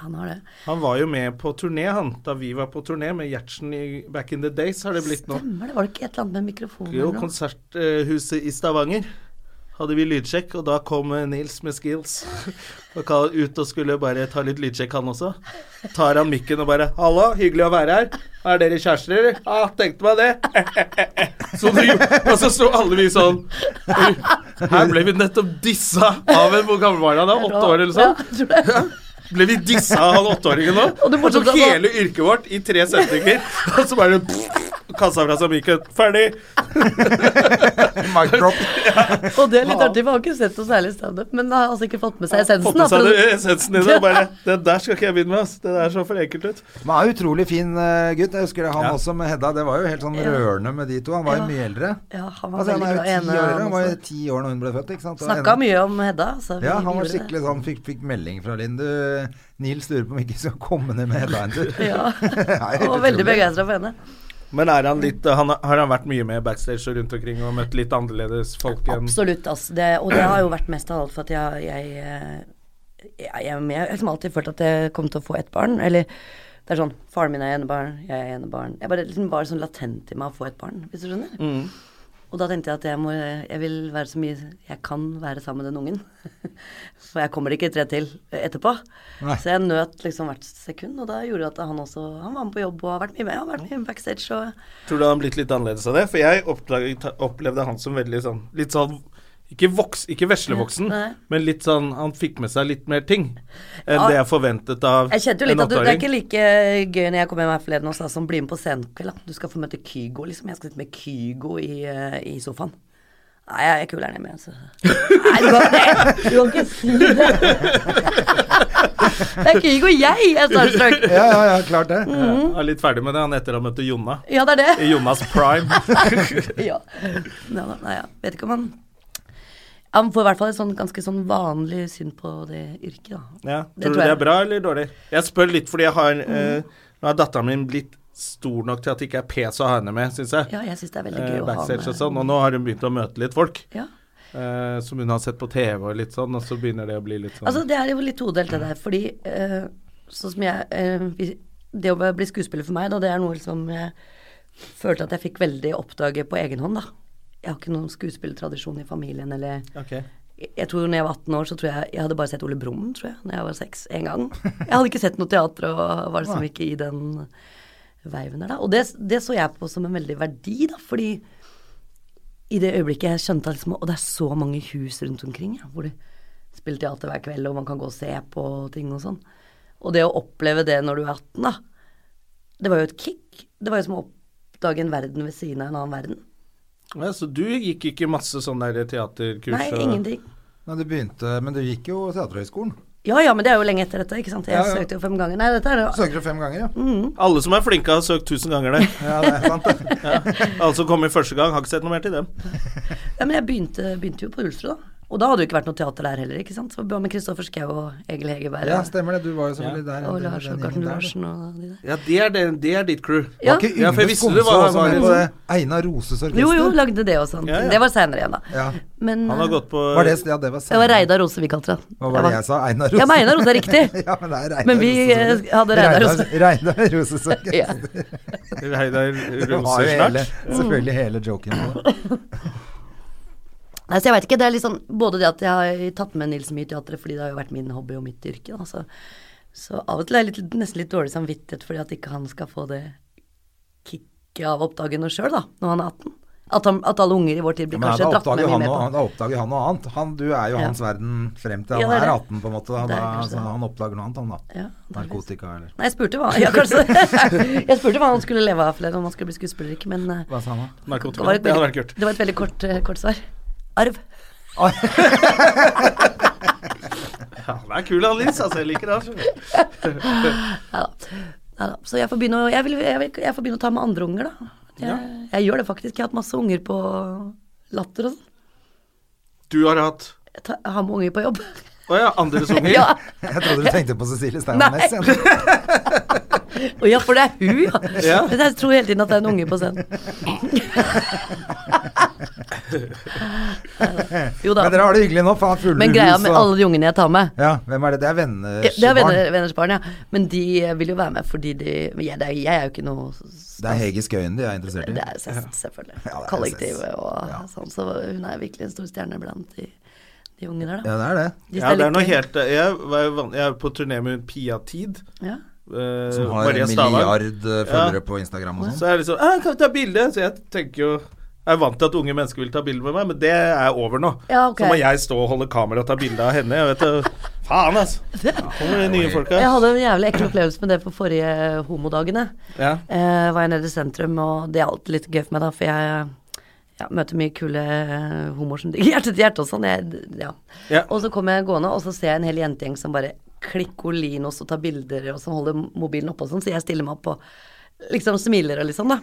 Han har det.
Han var jo med på turné, han, da vi var på turné med Gjertsen i Back in the Days, har det blitt nå.
Stemmer det. Var det ikke et eller annet med mikrofonen?
Jo,
eller noe?
Konserthuset i Stavanger. hadde vi lydsjekk, og da kom eh, Nils med skills og ka- ut og skulle bare ta litt lydsjekk, han også. Tar han mikken og bare 'Halla, hyggelig å være her. Er dere kjærester, eller?' 'Ja, ah, tenkte meg det.' Så det, og så sto alle vi sånn Her ble vi nettopp dissa av en Hvor gammel var han da? Åtte år, eller sånn?
Ja, tror jeg.
Ble vi dissa av han åtteåringen nå?
Og det
Han
morsomt
tok
at han-
hele yrket vårt i tre setninger, og så bare kassa fra seg mikken. Ferdig!
Mic drop.
Og det er litt artig, for jeg har ikke sett noe særlig standup, men jeg har altså ikke fått med seg
Fått med
essensen. da,
seg
for å-
det- essensen i det. og Bare, det der skal ikke jeg begynne med. Ass. Det der så for enkelt ut.
Men han er utrolig fin eh, gutt. Jeg husker det, han
Ja.
også med Hedda. Det var jo helt sånn rørende med de to. Han var jo
Ja.
mye eldre.
Ja, han var
Altså, han er
veldig
jo
glad i
ti
henne,
år,
han
han var jo
også.
ti år da hun ble født. ikke sant? Og
Snakka
en-
mye om Hedda. Altså,
Ja,
vi-
han
vi
var
gjorde det.
skikkelig sånn Fikk, fikk melding fra Linn. Du, Nils lurer på om ikke vi skal komme ned med Hedda en tur.
Ja,
Det er helt
han var veldig
utrolig.
begeistra for henne.
Men er han litt, han, har han vært mye med backstage og rundt omkring og møtt litt annerledes folk enn
Absolutt, altså. Det, og det har jo vært mest av alt for at jeg Jeg, eh, jeg, jeg, jeg har liksom alltid følt at jeg kom til å få ett barn. Eller det er sånn Faren min er enebarn, jeg er enebarn. Jeg bare liksom var sånn latent i meg å få et barn, hvis du skjønner. Og da tenkte jeg at jeg, må, jeg vil være så mye jeg kan være sammen med den ungen. For jeg kommer ikke tre til etterpå.
Nei.
Så jeg nøt liksom hvert sekund, og da gjorde det at han også Han var med på jobb og har vært mye med. Han har vært mye backstage og
Tror du han har blitt litt annerledes av det? For jeg oppdaget, opplevde han som veldig sånn Litt sånn ikke, voks, ikke veslevoksen,
Nei.
men litt sånn Han fikk med seg litt mer ting enn
Ja.
det jeg forventet av
Jeg kjente jo litt
en
at du, det er
åtteåring.
ikke like gøy når jeg kom hjem her forleden og sa som blir med på scenekveld. da. Du skal få møte Kygo, liksom. Jeg skal sitte med Kygo i, eh, i sofaen. Nei, jeg er kulere enn jeg med, altså. Nei, du kan, ikke- du kan ikke si det. Det er Kygo jeg er starstruck.
Ja, ja, ja, klart det.
Mm.
Jeg er litt ferdig med det, han etter han møtte Jonna.
Ja, det er
I
det.
Jonas prime.
ja. Nei, da, nei, jeg vet ikke om han Han får i hvert fall et sånn ganske sånn vanlig syn på det yrket, da.
Ja.
Det
Tror
tror
du det
jeg. Mm.
er bra eller dårlig? Jeg spør litt fordi jeg har eh, Nå er datteren min blitt stor nok til at det ikke er pes å ha henne med, syns jeg.
Ja, jeg syns det er veldig
Eh,
gøy å ha
backstage
med.
og sånn. Og nå har hun begynt å møte litt folk.
Ja.
eh, som hun har sett på TV og litt sånn, og så begynner det å bli litt sånn
Altså, det er jo litt todelt, det der. Fordi eh, sånn som jeg eh, vi- Det å bli skuespiller for meg, da, det er noe som jeg følte at jeg fikk veldig oppdage på egen hånd, da. Jeg har ikke noen skuespillertradisjon i familien, eller
Ok.
jeg, jeg tror når jeg var 18 år, så tror jeg jeg hadde bare sett Ole Brumm, tror jeg, når jeg var seks, en gang. Jeg hadde ikke sett noe teater og var liksom ikke i den veiven der, da. Og det, det så jeg på som en veldig verdi, da, fordi i det øyeblikket jeg skjønte at liksom, Og det er så mange hus rundt omkring ja, hvor de spiller teater hver kveld, og man kan gå og se på ting og sånn. Og det å oppleve det når du er 18, da, det var jo et kick. Det var jo som å oppdage en verden ved siden av en annen verden.
Ja, så du gikk ikke masse sånn der teaterkurs?
Nei,
og-
ingenting.
Men du begynte, men du gikk jo Teaterhøgskolen.
Ja ja, men det er jo lenge etter dette, ikke sant. Jeg
Ja, ja.
søkte jo fem ganger. Nei, dette er jo
Søker du fem ganger, ja?
Mm.
Alle som er flinke, har søkt tusen ganger det.
Ja, det er sant. det.
Alle som kommer første gang, har ikke sett noe mer til dem.
Ja, men jeg begynte, begynte jo på Ulsrud, da. Og da hadde det jo ikke vært noe teater der heller, ikke sant. Så bare med Kristoffer Schou og Egil Hegerberg
Ja,
og-
stemmer det. Du var jo selvfølgelig der.
og
den-
Lars
den gjengen
og Garten
der, da.
Larsen og de der.
Ja, det er, det, det er ditt crew.
Ja.
Var ikke
Ja, for jeg
Yngve
visste det
Skomsø
sånn- var-
også med
var-
på det? Einar Roses orkester?
Jo, jo, lagde det også.
Ja, ja.
Det var seinere igjen, da.
Ja.
Men eh,
Han har gått på
Var det, ja, det var
Det var Reidar Rose vi kalte det.
Hva var det jeg sa? Einar Rose?
Ja, men Einar Rose er riktig.
ja, men det er Reidar
Men vi,
Roses orkester.
eh, hadde Reidar Rose.
Reidar Roses orkester.
Ja.
Reidar
Det var jo hele,
Rosersnakk?
selvfølgelig hele joken
Mm.
på det.
Nei, så jeg vet ikke. Det er litt sånn både det at jeg har tatt med Nils mye i teatret, fordi det har jo vært min hobby og mitt yrke, da. Så, så av og til er jeg litt, nesten litt dårlig samvittighet fordi at ikke han skal få det kicket av å oppdage noe sjøl, da, når han er 18. At, han, at alle unger i vår tid blir
Men da
kanskje dratt
oppdager
med
han
mye med
noe,
på.
da oppdager han noe annet. Han, du er jo
Ja.
hans verden frem til
Ja,
han
det er
er
det.
18, på en måte. Da,
Det er
da,
kanskje
så
det.
han oppdager noe annet, han da.
Ja, antageligvis.
Narkotika eller
Nei, jeg spurte hva Ja, kanskje Jeg spurte hva han skulle leve av forleden, om han skulle bli skuespiller eller ikke, men eh,
Hva sa han da?
det
Narkotika.
var et
Det hadde vært
veldig,
kult.
det var et veldig kort, eh, kort svar. Arv.
Ja, han er kul, han Liss. Altså, jeg liker han.
Neida. Neida. Så jeg får, begynne å, jeg, vil, jeg, vil, jeg får begynne å ta med andre unger, da. Jeg, jeg gjør det faktisk. Jeg har hatt masse unger på latter og sånn.
Du har hatt
Jeg tar- Jeg har med unger på jobb.
Å ja, andres unger?
ja.
Jeg trodde du tenkte på Cecilie Steinmann
Nei.
Næss. jeg.
Og ja, for det er hun, ja.
Ja.
Men jeg tror hele tiden at det er en unge på scenen. Jo da.
Men dere har det hyggelig nå, faen fulle
Men greia
hus
med
og-
alle de ungene jeg tar med
Ja, hvem er det? Det er venners
Ja, Det er
barn.
venner, venners barn, ja. Men de eh, vil jo være med fordi de men jeg, det er, jeg er jo ikke noe
Det er Hege Skøyen de er interessert i.
Det er Sess, selvfølgelig.
det er Sess.
Kollektivet og
Ja.
sånn. Så hun er virkelig en stor stjerne blant de, de unge der, da.
Ja, det er det.
De
Ja, det er noe
sterke.
helt eh, Jeg, var jo van- jeg er på turné med Pia Tid.
ja.
eh,
Som har
Maria
en
Stavang.
milliard eh, følgere
Ja.
på Instagram og
Så
sånn.
er det liksom «Ah, Kan vi ta bilde? Så jeg tenker jo Jeg er vant til at unge mennesker vil ta bilde med meg, men det er over nå.
Ja, ok.
Så må jeg stå og holde kamera og ta bilde av henne. Jeg vet det. Faen, altså. Kommer de nye folka.
Jeg hadde en jævlig ekkel opplevelse med det på forrige homodagene.
Ja.
Eh, var jeg nede i sentrum, og det er alltid litt gøy for meg, da, for jeg ja, møter mye kule eh, homoer som digger hjerte til hjerte og sånn. Jeg, ja.
Ja.
Og så kommer jeg gående, og så ser jeg en hel jentegjeng som bare klikker linos og tar bilder, og som holder mobilen oppe og sånn, så jeg stiller meg opp og liksom smiler og litt sånn, da.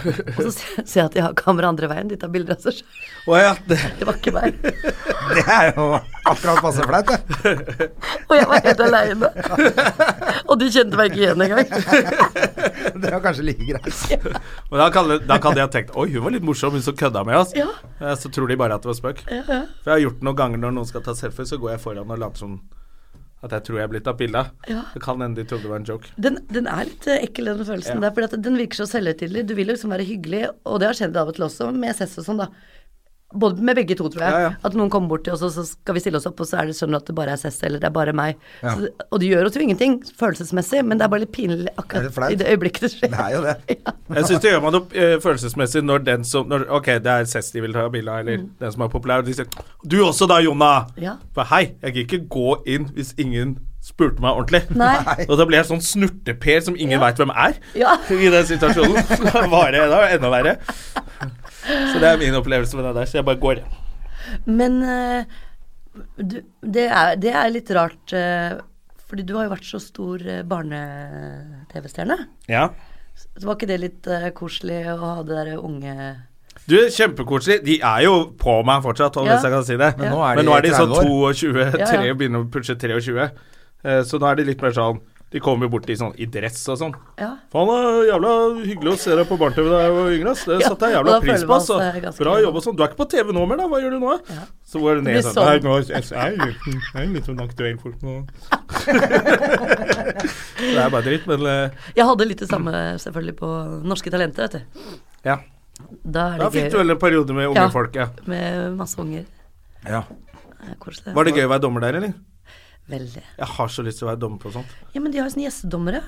og så ser ser jeg at de har kamera andre veien, de tar bilder av seg sjøl.
Å ja, det,
Det var ikke meg.
det er jo akkurat passe flaut, det.
Og jeg var helt aleine. og de kjente meg ikke igjen engang.
Det er jo kanskje like greit.
Men da kan, da kan jeg ha tenkt Oi, hun var litt morsom, hun som kødda med oss.
Ja.
Eh, Så tror de bare at det var spøk. For jeg har gjort det noen ganger når noen skal ta selfie, så går jeg foran og later som at jeg tror jeg er blitt tatt bilde av.
Ja.
Det kan hende de trodde det var en joke.
Den, den er litt eh, ekkel, den følelsen der. For den virker så selvhøytidelig. Du vil jo liksom være hyggelig, og det har skjedd av og til også med SS og sånn, da. Både med begge to, tror jeg.
Ja, ja.
At noen kommer bort til oss, og så skal vi stille oss opp, og så er det sånn at det bare er Sess eller det er bare meg. Så det- og det gjør oss jo ingenting følelsesmessig, men det er bare litt
Er
pinlig
det
akkurat
flaut?
i det øyeblikket det skjer.
Det er jo det.
Jeg syns det gjør meg noe eh, følelsesmessig når den som når, Ok, det er Cess de vil ta bilde av, eller den som er populær. De sier 'Du også da, Jonna!'
Mm. Ja.
For hei, jeg gikk ikke gå inn hvis ingen spurte meg ordentlig.
Nei.
Og da blir jeg sånn snurteper som ingen veit hvem er.
Ja.
I den situasjonen. Da var det da var det enda verre. Så det er min opplevelse med det der. Så jeg bare går.
Men eh, du, det, er, det er litt rart, eh, fordi du har jo vært så stor eh, barne-TV-stjerne.
Ja.
Så var ikke det litt eh, koselig å ha det derre unge
Du, kjempekoselig. De er jo på meg fortsatt, om
Ja.
hvis jeg kan si det.
Men nå er de i
sånn
30
22,
Ja, ja.
3, begynner å pushe 23. Eh, Så nå er de litt mer sånn De kommer jo bort i sånn i dress og sånn.
Ja.
Faen, det er jævla hyggelig å se deg på barne-TV da jeg var yngre, ass. Det
Ja,
satte jeg
og
jævla
da
pris
føler
på,
man
ass.
seg ganske
Bra
gammel.
jobba og sånn. Du er ikke på TV nå mer, da. Hva gjør du nå? Så går det
blir
ned sånn.
sånn.
Nei, nå er jeg- jeg er litt- jeg er litt sånn aktuell folk nå. Det er bare dritt, men eh,
Jeg hadde litt det samme selvfølgelig på Norske Talenter, vet du.
ja.
Da er
Da
det
fikk du
gøy
vel en periode med unge
Ja.
folk, ja.
med masse unger.
Ja.
Det er Koselig.
Var det gøy å være dommer der, eller?
Veldig.
Jeg har så lyst til å være dommer på sånt.
Ja, men de har jo sånne gjestedommere.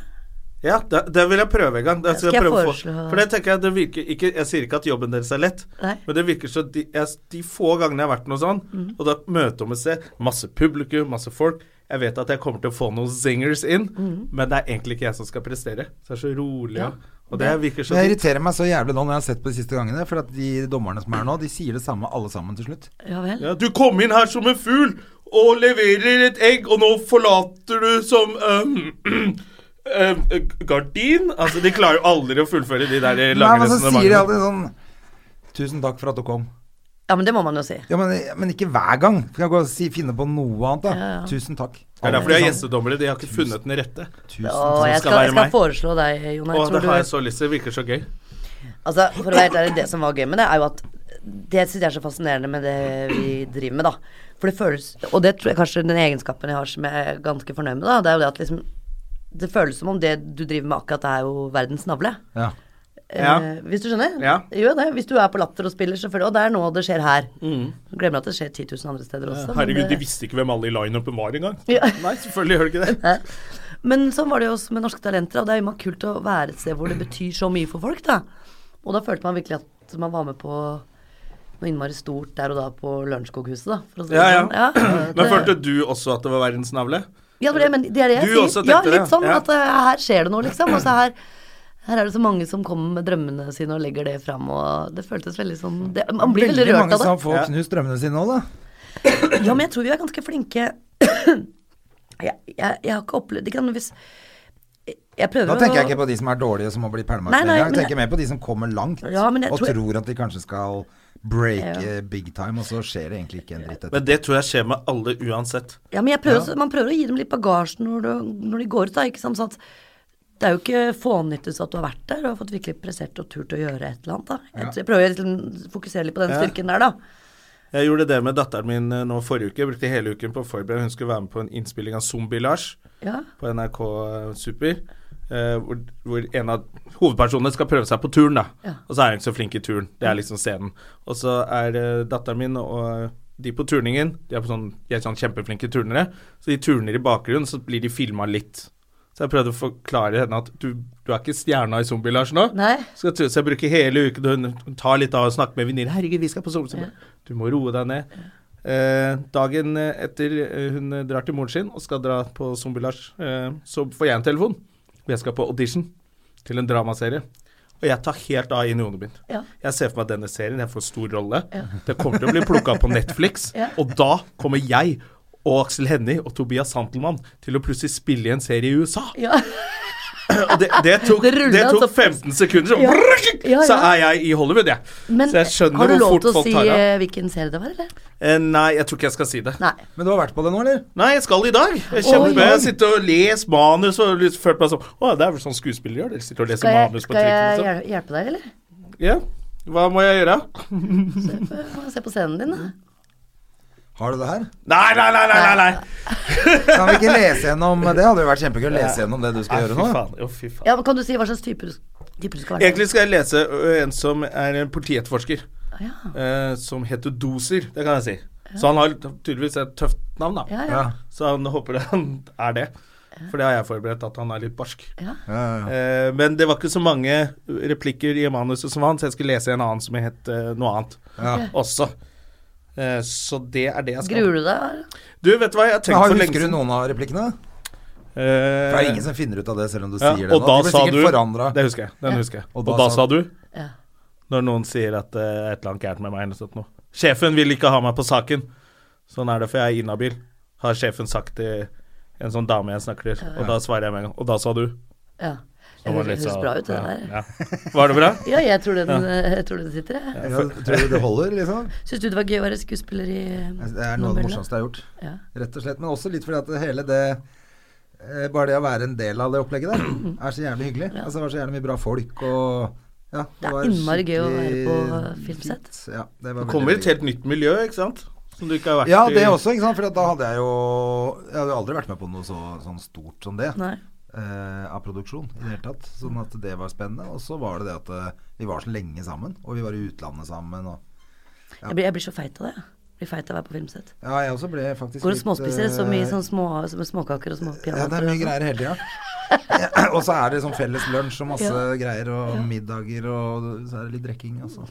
Ja, det, det vil jeg prøve en gang. Det
Skal jeg
prøve å få-
foreslå-
For det tenker jeg, det virker ikke, jeg sier ikke at jobben deres er lett,
Nei. Mm.
men det virker så de, jeg, de få gangene jeg har vært noe sånn, og da møterommet ser masse publikum, masse folk Jeg vet at jeg kommer til å få noen zingers inn,
Mm.
men det er egentlig ikke jeg som skal prestere. Så det er så rolig. og- Og det virker så
Men jeg
fint.
irriterer meg så jævlig nå når jeg har sett på de siste gangene, for at de dommerne som er nå, de sier det samme alle sammen til slutt.
Ja vel.
ja, Du kom inn her som en fugl og leverer et egg, og nå forlater du som øhm, øhm, gardin Altså, de klarer jo aldri å fullføre de der
Nei,
lange
men så sier de
resonnementene.
alltid sånn Tusen takk for at du kom.
Ja, men det må man jo si.
Ja, men, men ikke hver gang. Kan jeg gå og si, finne på noe annet, da?
Ja, ja.
Tusen takk.
Det er derfor de har
Sånn,
gjestedommere. De har ikke funnet den rette.
Tusen
Å,
takk.
jeg
skal
skal,
være
jeg skal
meg.
foreslå deg, Jon.
Å,
Jeg
det
tror
har jeg
du
så lyst til. Det virker så gøy.
Altså, for å være helt ærlig, det som var gøy med det, er jo at det synes jeg er så fascinerende med det vi driver med, da. For det føles Og det tror jeg kanskje den egenskapen jeg har som jeg er ganske fornøyd med, da, det er jo det at liksom Det føles som om det du driver med akkurat, er jo verdens navle.
Ja.
Ja.
Eh, hvis du skjønner?
Ja.
Jo, det. Hvis du er på Latter og spiller, så føler du at det er nå det skjer her. Glemmer at det skjer 10 000 andre steder også. men
Mm.
eh,
Herregud, de
det-
visste ikke hvem alle i lineupen var engang.
Ja.
Nei, selvfølgelig gjør de ikke det.
Hæ? Men sånn var det jo også med Norske Talenter, og det er jo kult å være et sted hvor det betyr så mye for folk, da. Og da følte man virkelig at man var med på noe innmari stort der og da på Lørenskog-huset, da. For å si det
Ja, ja.
sånn. ja. det-
Men følte du også at det var verdens navle?
Ja, for det, men det er det
Du
jeg sier.
også
ja,
tenkte
litt
det,
sånn
ja.
at eh, her skjer det noe, liksom. Og så her, her er det så mange som kommer med drømmene sine og legger det fram, og det føltes veldig sånn det, Man blir veldig rørt
mange
av det.
som får knust drømmene sine nå, da.
Ja, men jeg tror vi er ganske flinke jeg, jeg, jeg har ikke opplevd Ikke nødvendigvis Jeg prøver
Da tenker jeg ikke på de som er dårlige som må bli pælma ut
Nei,
med
nei,
en gang. Jeg
men-
tenker mer på de som kommer langt
Ja, men jeg
og
tror-
tror at de kanskje skal breake
Ja.
big time, og så skjer det egentlig ikke en dritt etterpå.
Men det tror jeg skjer med alle uansett.
Ja, men jeg prøver, Man prøver å gi dem litt bagasje når, du, når de går ut, da. Ikke sant? Sånn at det er jo ikke fånyttes at du har vært der og har fått virkelig prestert og turt å gjøre et eller annet. da. Jeg, jeg prøver å liksom fokusere litt på den
Ja.
styrken der, da.
Jeg gjorde det med datteren min eh, nå forrige uke. Jeg brukte hele uken på å forberede. Hun skulle være med på en innspilling av Zombie-Lars
Ja.
på NRK Super. eh, hvor, hvor en av hovedpersonene skal prøve seg på turn, da.
Ja.
Og så er hun ikke så flink i turn. Det er liksom scenen. Og så er eh, datteren min og eh, de på turningen De er, på sånn, de er sånn kjempeflinke turnere. Så de turner i bakgrunnen, så blir de filma litt. Så jeg prøvde å forklare henne at du, du er ikke stjerna i Zombie-Lars nå.
Nei.
Skal tro, så jeg bruker hele uken hun, hun tar litt av og snakker med venninner. 'Herregud, vi skal på solsiden.' Du må roe deg ned. Eh, dagen etter eh, hun drar til moren sin og skal dra på Zombie-Lars, eh, så får jeg en telefon. Og Jeg skal på audition til en dramaserie. Og jeg tar helt av inn i hodet mitt.
Ja.
Jeg ser for meg at denne serien, jeg får stor rolle. Det kommer til å bli plukka på Netflix.
Ja.
Og da kommer jeg og Aksel Hennie og Tobias Santelmann til å plutselig spille i en serie i USA.
Ja.
Og det, det tok,
Det
det
rullet,
tok
altså.
15 sekunder, så,
Ja. Ja,
så
ja.
er jeg i Hollywood, jeg.
Men
så jeg skjønner
har du
hvor
lov
fort
til å
folk
si
tar av.
eh, hvilken serie det var, eller?
Eh, Nei, jeg tror ikke jeg skal si det. Nei,
Nei.
Men du har vært på det nå, eller?
jeg skal i dag. Jeg
Oi,
kjemper.
oi.
Jeg sitter og leser manus og liksom følt meg sånn Å, det er vel sånn skuespillere gjør. Dere sitter og leser
Skal jeg,
manus på
skal jeg
trikken og sånn.
hjel- hjelpe deg, eller?
Ja. Hva må jeg gjøre?
Få Se på scenen din, da.
Har du det her?
Nei, nei, nei, nei, nei. nei.
Kan vi ikke lese gjennom Det hadde jo vært kjempegøy å lese gjennom det du skal
Nei,
gjøre
fy
nå.
faen. Jo, fy faen.
Ja, men Kan du si hva slags type du, type du skal være?
Egentlig skal jeg lese ø, en som er en politietterforsker,
Ah, Ja.
eh, som heter Doser. Det kan jeg si. Så han har tydeligvis et tøft navn, da.
Ja, ja.
Ja.
Så han håper han er det. For det har jeg forberedt, at han er litt barsk.
Ja, ja, ja.
Eh, men det var ikke så mange replikker i manuset som han, så jeg skulle lese en annen som het eh, noe annet
Ja.
også. Eh, så det er det jeg skal.
Gruer du deg?
Du, vet du hva, jeg har
Men
tenkt
har-
for lenge
Husker du
siden
noen av replikkene?
Eh,
For det er ingen som finner ut av det, selv om du
ja,
sier det.
og
nå.
da
De blir
sa
sikkert
du
forandret.
Det husker jeg. Den husker jeg. Og da, sa du
Ja.
Når noen sier at det er et eller annet gærent med meg eller sånt noe. Sjefen vil ikke ha meg på saken. Sånn er det, for jeg er inhabil, har sjefen sagt til en sånn dame jeg snakker til. Og da svarer jeg med en gang. Og da sa du.
Ja.
Det
Det
var
høres
litt
høres
så-
bra ut, det
ja,
der.
Ja. Var det bra?
Ja, jeg tror den, jeg tror den sitter, jeg.
Ja, tror du det holder, liksom?
Syns du det var gøy å være skuespiller i eh,
Det er noe av det
novella?
morsomste jeg har gjort.
Ja.
Rett og slett. Men også litt fordi at det hele det eh, Bare det å være en del av det opplegget der, er så jævlig hyggelig. Altså, det var så jævlig mye bra folk og ja,
Det er
var
innmari gøy å være på eh,
skikkelig
filmsett.
fint. Ja, det var
Du
veldig,
kommer i
veldig
et helt nytt miljø, ikke sant? Som du ikke har vært
Ja, det
i.
også, ikke sant. For da hadde jeg jo Jeg hadde jo aldri vært med på noe så, sånn stort som det.
Nei.
eh, av produksjon i det hele tatt. Sånn at det var spennende. Og så var det det at eh, vi var så lenge sammen, og vi var i utlandet sammen. Og
Jeg, blir, jeg blir så feit av det. Jeg blir feit av å være på filmsett.
ja, jeg også ble faktisk
Går og
litt,
småspiser
eh,
så mye sånn små, som altså. småkaker og sånn. små
Ja, det er
peanøtter.
mye greier hele tida. Ja, og så er det sånn felles lunsj og masse greier, og middager, og så er det litt drikking, og så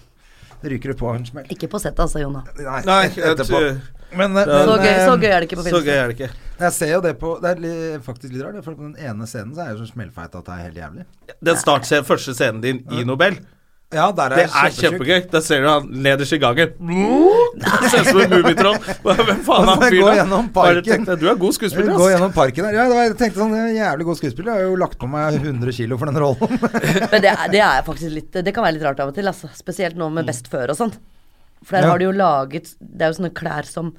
ryker det på en smell.
Ikke på settet altså, Jonna.
Nei, jeg
etterpå.
tror-
Men, eh,
Så
men,
gøy, så
eh,
gøy er det ikke på
Så gøy
filmsett.
er det ikke.
Jeg ser jo det på Det er li- faktisk litt rart, for på den ene scenen så er jeg jo så smellfeit at det er helt jævlig.
Den startscenen, første scenen din i Nobel,
Ja, der er
det
jeg
er
kjempetjukk.
kjempegøy. Da ser du han nederst i gangen. Ser ut som en mummitroll. Hvem
Og
faen er
så
han
går
fyren
gjennom
Bare
parken.
tenk deg, Du er god
Jeg
skuespiller,
vil gå
ass.
gjennom parken her. Ja, det var, jeg tenkte sånn, jeg er jævlig god skuespiller. Jeg har jo lagt på meg 100 kilo for den rollen.
Men det er, det er faktisk litt Det kan være litt rart av og til, altså. Spesielt nå med Best før og sånn. For
Mm.
der
Ja.
har de jo laget Det er jo sånne klær som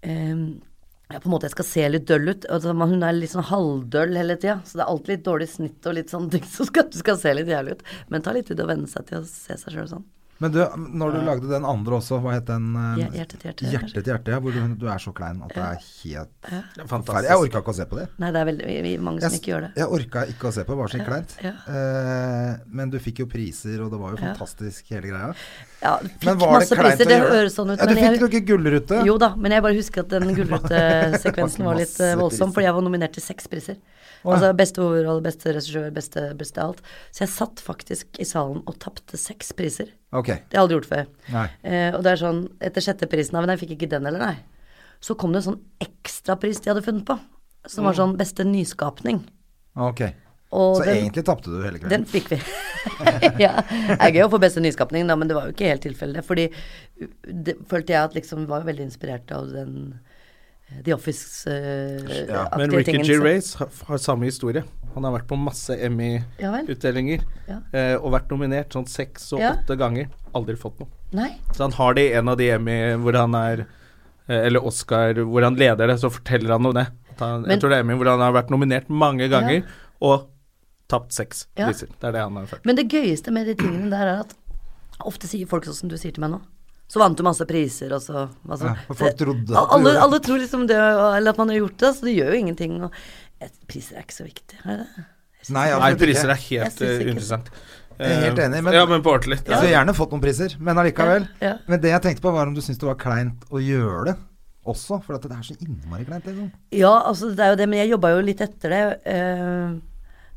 ehm, ja, på en måte jeg skal se litt døll ut. Altså, man- hun er litt sånn halvdøll hele tida. Så det er alltid litt dårlig snitt og litt sånne ting som skal, skal se litt jævlig ut. Men ta litt tid å venne seg til å se seg sjøl sånn.
Men du, når du lagde den andre også, hva het den? eh,
Hjer- Hjerte til hjerte.
Hjerte
kanskje.
til hjerte, ja. Hvor du, du er så klein at det er helt
Fantastisk.
ferdig. Jeg orka ikke å se på det.
Nei, det er veldig vi- vi- mange som
Jeg,
ikke gjør det.
jeg orka ikke å se på, det var så kleint.
ja.
Eh, men du fikk jo priser, og det var jo fantastisk hele greia.
Ja, fikk
Men var det
masse
kleint
priser.
å
Det
gjøre?
høres sånn ut.
Ja, du
men
fikk
jeg-
jo ikke gullrute.
Jo da, men jeg bare husker at den gullrutesekvensen var litt eh,
Masse
voldsom,
priser.
fordi jeg var nominert til seks priser.
Å, ja.
Altså beste hovedrolle, beste regissør, beste, beste alt. Så jeg satt faktisk i salen og tapte seks priser.
Ok.
Det har jeg aldri gjort før.
Nei.
Eh, og det er sånn, etter sjette prisen, nei, men jeg fikk ikke den heller, nei. Så kom det en sånn ekstrapris de hadde funnet på, som var sånn beste nyskapning.
ok.
Og
Så
den-
egentlig tapte du hele kvelden.
den fikk vi. ja. Det er gøy å få beste nyskapning, da, men det var jo ikke helt tilfellet. Fordi uh, det følte jeg at liksom var veldig inspirert av den eh, The eh, Office-aktige
Ja,
Men Ricky G. Race har, har samme historie. Han har vært på masse
Ja vel.
Emmy-utdelinger.
Ja.
eh, Og vært nominert sånn seks og
Ja.
åtte ganger. Aldri fått noe.
Nei.
Så han har det i en av de Emmy hvor han er eh, Eller Oscar hvor han leder det, så forteller han om det. At han,
Men-
jeg tror det er Emmy hvor han har vært nominert mange ganger, og tapt seks
Ja.
priser. Det er det han har ført.
Men det gøyeste med de tingene der er at ofte sier folk sånn som du sier til meg nå. Så vant du masse priser, og så altså,
Ja, for folk
det-
trodde at du
alle,
gjorde det.
alle tror liksom det, eller at man har gjort det, så det gjør jo ingenting. Og, eh, priser er ikke så viktig, er det det?
Nei,
Nei,
absolutt
priser
ikke.
er helt
Jeg synes
eh,
ikke-
uinteressant.
Jeg er helt
Eh,
enig, men-
Ja, men på ordentlig. Altså,
Jeg Skulle gjerne fått noen priser, men allikevel.
Ja, ja.
Men det jeg tenkte på, var om du syntes det var kleint å gjøre det også. For at det er så innmari kleint, liksom.
Ja, altså det er jo det, men jeg jobba jo litt etter det. eh,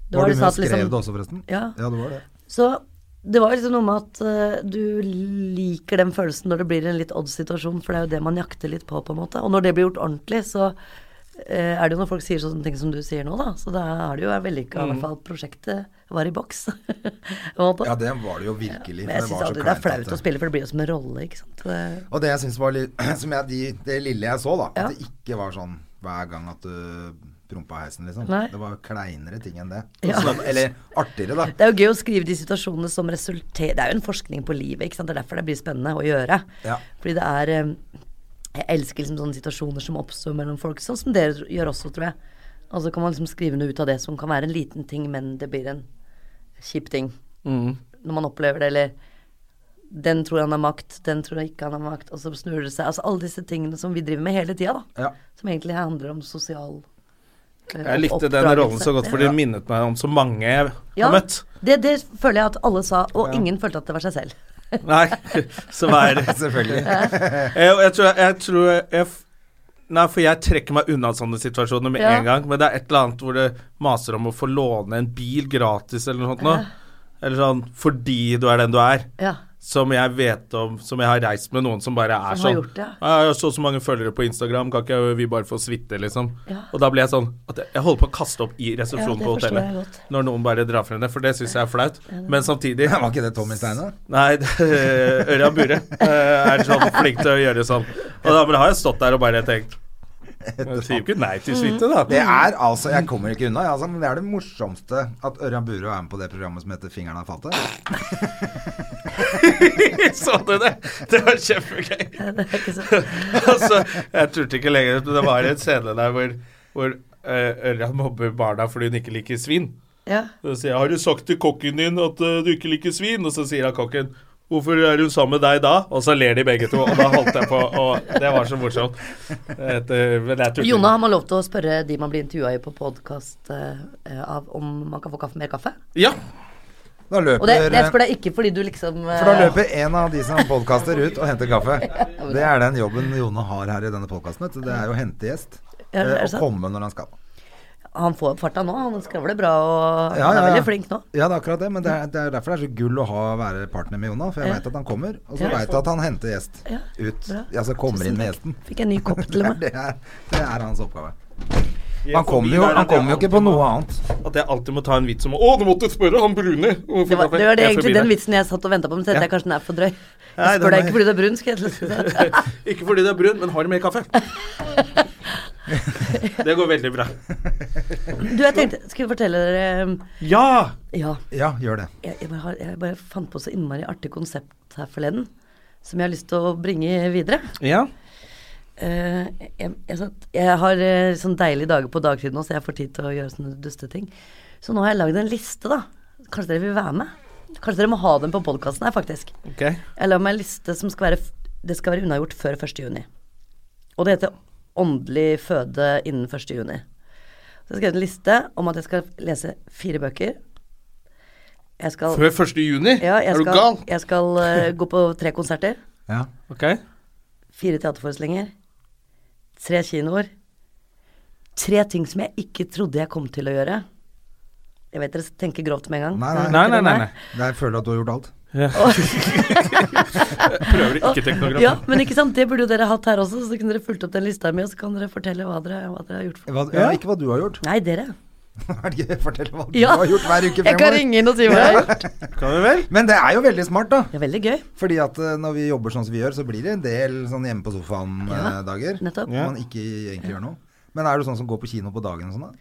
det
Var,
det
du
sånn
med
at
og skrev det
liksom-
også, forresten?
Ja.
ja, det var det.
Så det var liksom noe med at eh, du liker den følelsen når det blir en litt odd-situasjon, for det er jo det man jakter litt på, på en måte. Og når det blir gjort ordentlig, så eh, er det jo når folk sier sånne ting som du sier nå, da. Så da er det jo vellykka, i hvert fall prosjektet var i boks. på en
Mm.
måte.
Ja, det var det jo virkelig.
men jeg
for
syns
var så
aldri det er
kleint at
flaut å spille, for det blir jo som en rolle, ikke sant. Det-
Og det jeg syns var litt Som jeg, de, det lille jeg så, da.
Ja.
At det ikke var sånn hver gang at du prompa heisen, liksom.
Nei.
Det var kleinere ting enn det.
Ja.
Sånn, eller artigere, da.
Det er jo gøy å skrive de situasjonene som resulterer Det er jo en forskning på livet, ikke sant. Det er derfor det blir spennende å gjøre.
Ja.
Fordi det er eh, Jeg elsker liksom sånne situasjoner som oppstår mellom folk, sånn som dere gjør også, tror jeg. Og så kan man liksom skrive noe ut av det som kan være en liten ting, men det blir en kjip ting.
Mm.
Når man opplever det, eller Den tror han har makt, den tror ikke han har makt, og så snur det seg. Altså alle disse tingene som vi driver med hele tida, da.
Ja.
Som egentlig handler om sosial eh,
Jeg likte den
oppdragelse.
rollen så godt, for den minnet meg om så mange jeg har møtt.
Det, det føler jeg at alle sa, og ingen følte at det var seg selv.
Nei, så hver
Selvfølgelig.
jeg, jeg tror, jeg, tror jeg, f- Nei, for jeg trekker meg unna sånne situasjoner med
Ja.
en gang. Men det er et eller annet hvor det maser om å få låne en bil gratis eller noe sånt nå. Eller sånn fordi du er den du er.
Ja.
Som jeg vet om, som jeg har reist med noen som bare er
Som har
sånn.
gjort det,
Jeg har så og så mange følgere på Instagram, kan ikke vi bare få suite, liksom?
Ja.
Og da blir jeg sånn at jeg- jeg holder på å kaste opp i
Ja,
resepsjonen
det
på
forstår jeg
hotellet.
godt.
Når noen bare drar frem det, for det syns jeg er flaut. Men samtidig
Var ikke det Tommy Steine?
Nei, det- Ørjan Bure eh, er sånn flink til å gjøre sånn. Og da men da har jeg stått der og bare tenkt Mm. Jeg sier jo ikke nei til suite, da.
Det er altså Jeg kommer ikke unna, jeg, altså, men det er det morsomste at Ørjan Burøe er med på det programmet som heter 'Fingeren av fatet'.
Så du det? Det var kjempegøy.
Det er ikke så
Altså, jeg turte ikke lenger, men det var en scene der hvor, hvor eh, Ørjan mobber barna fordi hun ikke liker svin.
Ja.
Så sier jeg 'Har du sagt til kokken din at eh, du ikke liker svin?' Og så sier han kokken 'Hvorfor er hun sammen med deg da?' Og så ler de begge to, og da holdt jeg på, og det var så morsomt. Etter, men jeg turte
Jonna,
ikke.
har man lov til å spørre de man blir intervjua i på podkast om man kan få kaffe, mer kaffe?
Ja.
Da løper
Og det, det jeg spør deg ikke fordi du liksom eh,
For da løper en av de som podkaster ut og henter kaffe. Det er den jobben Jone har her i denne podkasten. Det er jo å hente gjest.
Ja, er det
eh, Og
sant?
komme når han skal.
Han får opp farta nå, han skravler bra og
Ja, ja,
han er
ja.
veldig flink nå.
Ja, det er akkurat det. Men det er, det er derfor det er så gull å ha, være partner med Jona. For jeg
Ja.
veit at han kommer, og så
Ja.
veit jeg at han henter gjest
Ja,
ut.
bra.
Altså kommer inn med gjesten.
Fikk en ny kopp
Det
til
er,
og med.
det, er, det er hans oppgave. Han kommer jo, han kommer jo ikke på noe annet.
At jeg alltid må ta en vits om Å, du måtte spørre han brune!
Det var, det var det egentlig den vitsen jeg satt og venta på, men så tenkte jeg kanskje den er for drøy.
Nei,
Jeg spør
den
deg
er-
ikke fordi du er brun, skal jeg til å si.
Ikke fordi det er brun, men har du mer kaffe? det går veldig bra.
Du, jeg tenkte Skal jeg fortelle dere um,
Ja!
Ja.
Ja, gjør det.
jeg, jeg, bare, har- jeg bare fant på så innmari artig konsept her forleden, som jeg har lyst til å bringe videre.
Ja.
Eh, jeg, jeg, satt, jeg har eh, sånn deilige dager på dagtid nå, så jeg får tid til å gjøre sånne dusteting. Så nå har jeg lagd en liste, da. Kanskje dere vil være med? Kanskje dere må ha den på podkasten her, faktisk.
Ok.
Jeg la meg en liste som skal være, f- det skal være unnagjort før 1. juni. Og det heter Åndelig føde innen 1. juni. Så jeg har skrevet en liste om at jeg skal lese fire bøker. Jeg skal,
Før 1. juni?
ja, jeg
er du
skal,
gal?
Jeg skal eh, gå på tre konserter.
Ja.
Ok.
Fire teaterforestillinger. Tre kinoer. Tre ting som jeg ikke trodde jeg kom til å gjøre. Jeg vet dere tenker grovt med en gang.
Nei, nei.
Nei, nei, nei. nei.
Det er- Jeg føler at du har gjort alt.
Prøver å ikke tenke noe
Ja,
grann.
men ikke sant, det burde jo dere hatt her også, så kunne dere fulgt opp den lista mi, og så kan dere fortelle hva dere, hva dere har gjort. For.
Hva, ja, ikke hva du har gjort.
Nei, dere.
Er det gøy? Fortell hva du
Ja.
har gjort hver uke
Jeg kan
fremover.
ringe inn og si hva jeg har gjort.
Kan vi vel?
Men det er jo veldig smart, da.
Det er veldig gøy.
Fordi at eh, når vi jobber sånn som vi gjør, så blir det en del sånn hjemme på
Ja,
sofaen-dager.
nettopp.
Hvor man ikke egentlig gjør noe. Men er du sånn som går på kino på dagen og sånn, da?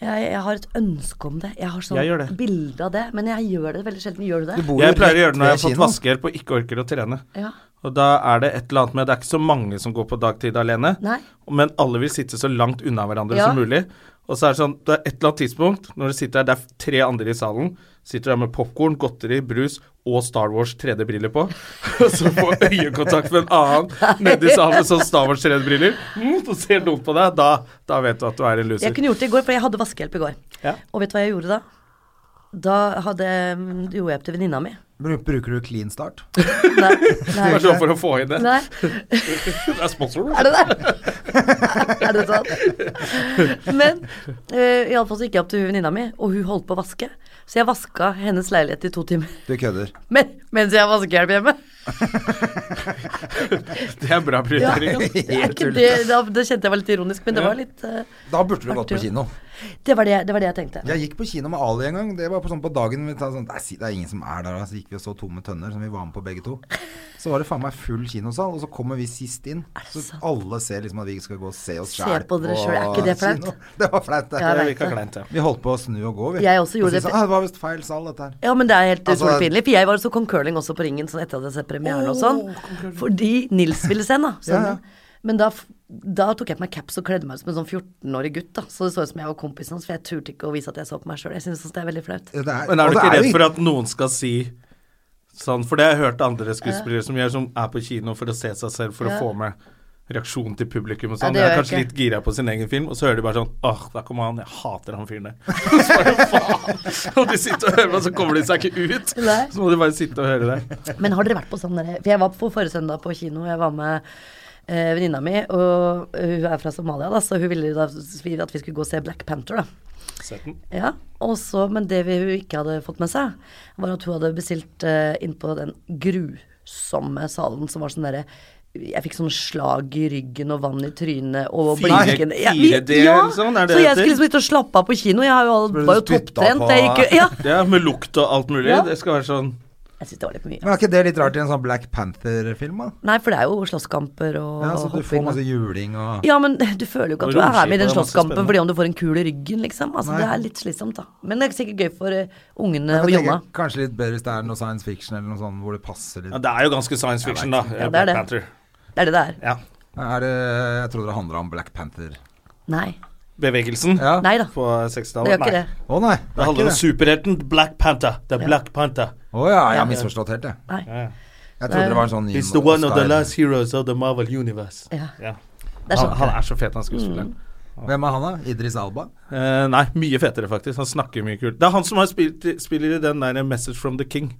Jeg, jeg har et ønske om det. Jeg har sånn
Jeg gjør det.
bilde av det, men jeg gjør det veldig sjelden. Gjør du det?
Du bor jo
Jeg pleier å
rett
gjøre det når jeg har
ved
fått vaskehjelp og ikke orker å trene.
Ja.
Og da er det et eller annet med Det er ikke så mange som går på dagtid alene,
Nei.
men alle vil sitte så langt unna hverandre
Ja.
som mulig. Og så er det sånn, det er et eller annet tidspunkt, når du sitter der, det er tre andre i salen, sitter der med popkorn, godteri, brus og Star Wars 3D-briller på, og så får øyekontakt med en annen nedi salen med sånn Star Wars 3D-briller, mm, og ser dumt på deg, da, da vet du at du er en
Jeg
loser.
kunne gjort det i går, for jeg hadde vaskehjelp i går.
Ja.
Og vet du hva jeg gjorde da? Da hadde, gjorde jeg opp til venninna mi.
Bru- Bruker du clean start?
Nei,
Det
nei,
er sånn for å få inn det.
nei.
Det er sponsor.
Er det det? er det sant? Men eh, iallfall så gikk jeg opp til hun venninna mi, og hun holdt på å vaske. Så jeg vaska hennes leilighet i to timer
Du kødder.
men, mens jeg har vaskehjelp hjemme.
Det er bra
Ja,
prioritering.
det, er
Helt
ikke,
tull.
det, da, det kjente jeg var litt ironisk, men det var litt eh,
Da burde du gått på
Artig.
kino.
det, var det, det var det jeg tenkte.
Jeg gikk på kino med Ali en gang. Det var på, sånn, på dagen vi sa sånn, "Nei, si- Det er ingen som er der. da." Så gikk vi og så Tomme tønner, som vi var med på begge to. Så var det faen meg full kinosal, og så kommer vi sist inn. Så alle ser liksom at vi skal gå og se oss
Se
sjæl
på dere selv. Er ikke det flaut?
Det var flaut, det.
Ja,
Det
jeg vet
virka
det.
kleint, ja.
Vi holdt på å snu og gå, vi.
Jeg også
Og så
gjorde det.
sa, ah, det var visst feil sal, dette her.
Ja, men det er helt
Altså-
utrolig pinlig. For jeg var så kong curling også på ringen sånn etter at jeg hadde sett premieren og sånn. Fordi Nils ville se den, da. sønnen min. Men da, f- da tok jeg på meg caps og kledde meg ut som en sånn 14-årig gutt. da Så det så ut som jeg var kompisen hans, for jeg turte ikke å vise at jeg så på meg sjøl. Jeg syns det er veldig flaut.
Ja, det er-
Men er
og
du
det
ikke
jo
redd for at noen skal si sånn For det har jeg hørt andre skuespillere som gjør, som er på kino for å se seg selv, for
Ja.
å få med reaksjonen til publikum og
Ja,
sånn.
det
De
gjør
er
jeg
kanskje
ikke.
litt gira på sin egen film, og så hører de bare sånn Åh, der kommer han. Jeg hater han fyren der. Så bare, faen. Og de sitter og hører meg, så kommer de seg ikke ut.
Nei.
Så må de bare sitte og høre det.
Men har dere vært på sånn derre For jeg var på forrige søndag på kino, jeg var med eh, venninna mi, og hun er fra Somalia, da, så hun ville da at vi skulle gå og se Black Panther, da.
Sett den.
Ja, og så, Men det vi hun ikke hadde fått med seg, var at hun hadde bestilt eh, inn på den grusomme salen som var sånn derre jeg fikk sånn slag i ryggen og vann i trynet og
Fire-
blinken
fire D
ja,
eller sånn, er det
Så jeg
det
skulle liksom ikke slappe av på kino. Jeg har jo, all-
ble du
var jo
spyttet
topptrent.
på.
Jeg gikk jo Ja.
Ja, med lukt og alt mulig.
Ja.
Det skal være sånn
Jeg syns det var litt mye.
Men er ikke det litt rart i en sånn Black Panther-film, da?
Nei, for det er jo slåsskamper og
Ja, så du får
hopping og-
masse juling og
Ja, men du føler jo ikke
Og
at du er
romskip, det
med i
er
den
masse
slåsskampen
spennende.
fordi om du får en kul i ryggen, liksom. Altså,
Nei.
det er litt slitsomt, da. Men det er sikkert gøy for eh, ungene
Jeg
og
tenker
Jonna.
Kanskje litt bedre hvis det er noe science fiction eller noe sånt hvor det passer litt.
Ja, det er jo ganske science fiction, da.
Ja, det er
Black
det.
Panther.
Det er det det er.
Ja.
Er det, jeg trodde det handla om Black Panther.
Nei.
Bevegelsen
Ja.
Nei da.
på
Det
60-tallet.
gjør ikke det.
Å nei.
Det
er ikke
handler om
det.
superhelten Black Panther. Det er Black Panther.
Å ja, jeg
Ja.
har misforstått helt, jeg.
Nei.
Jeg trodde det var en sånn ny
He's the one of the
Oscar.
last heroes of the Marvel Universe.
Ja.
Ja.
Det er
Han,
sånn.
han er så fet, han skuespilleren.
Hvem er han, da? Idris Alba?
Eh, nei, mye fetere, faktisk. Han snakker mye kult. Det er han som har spilt, spiller i den der Message from the King,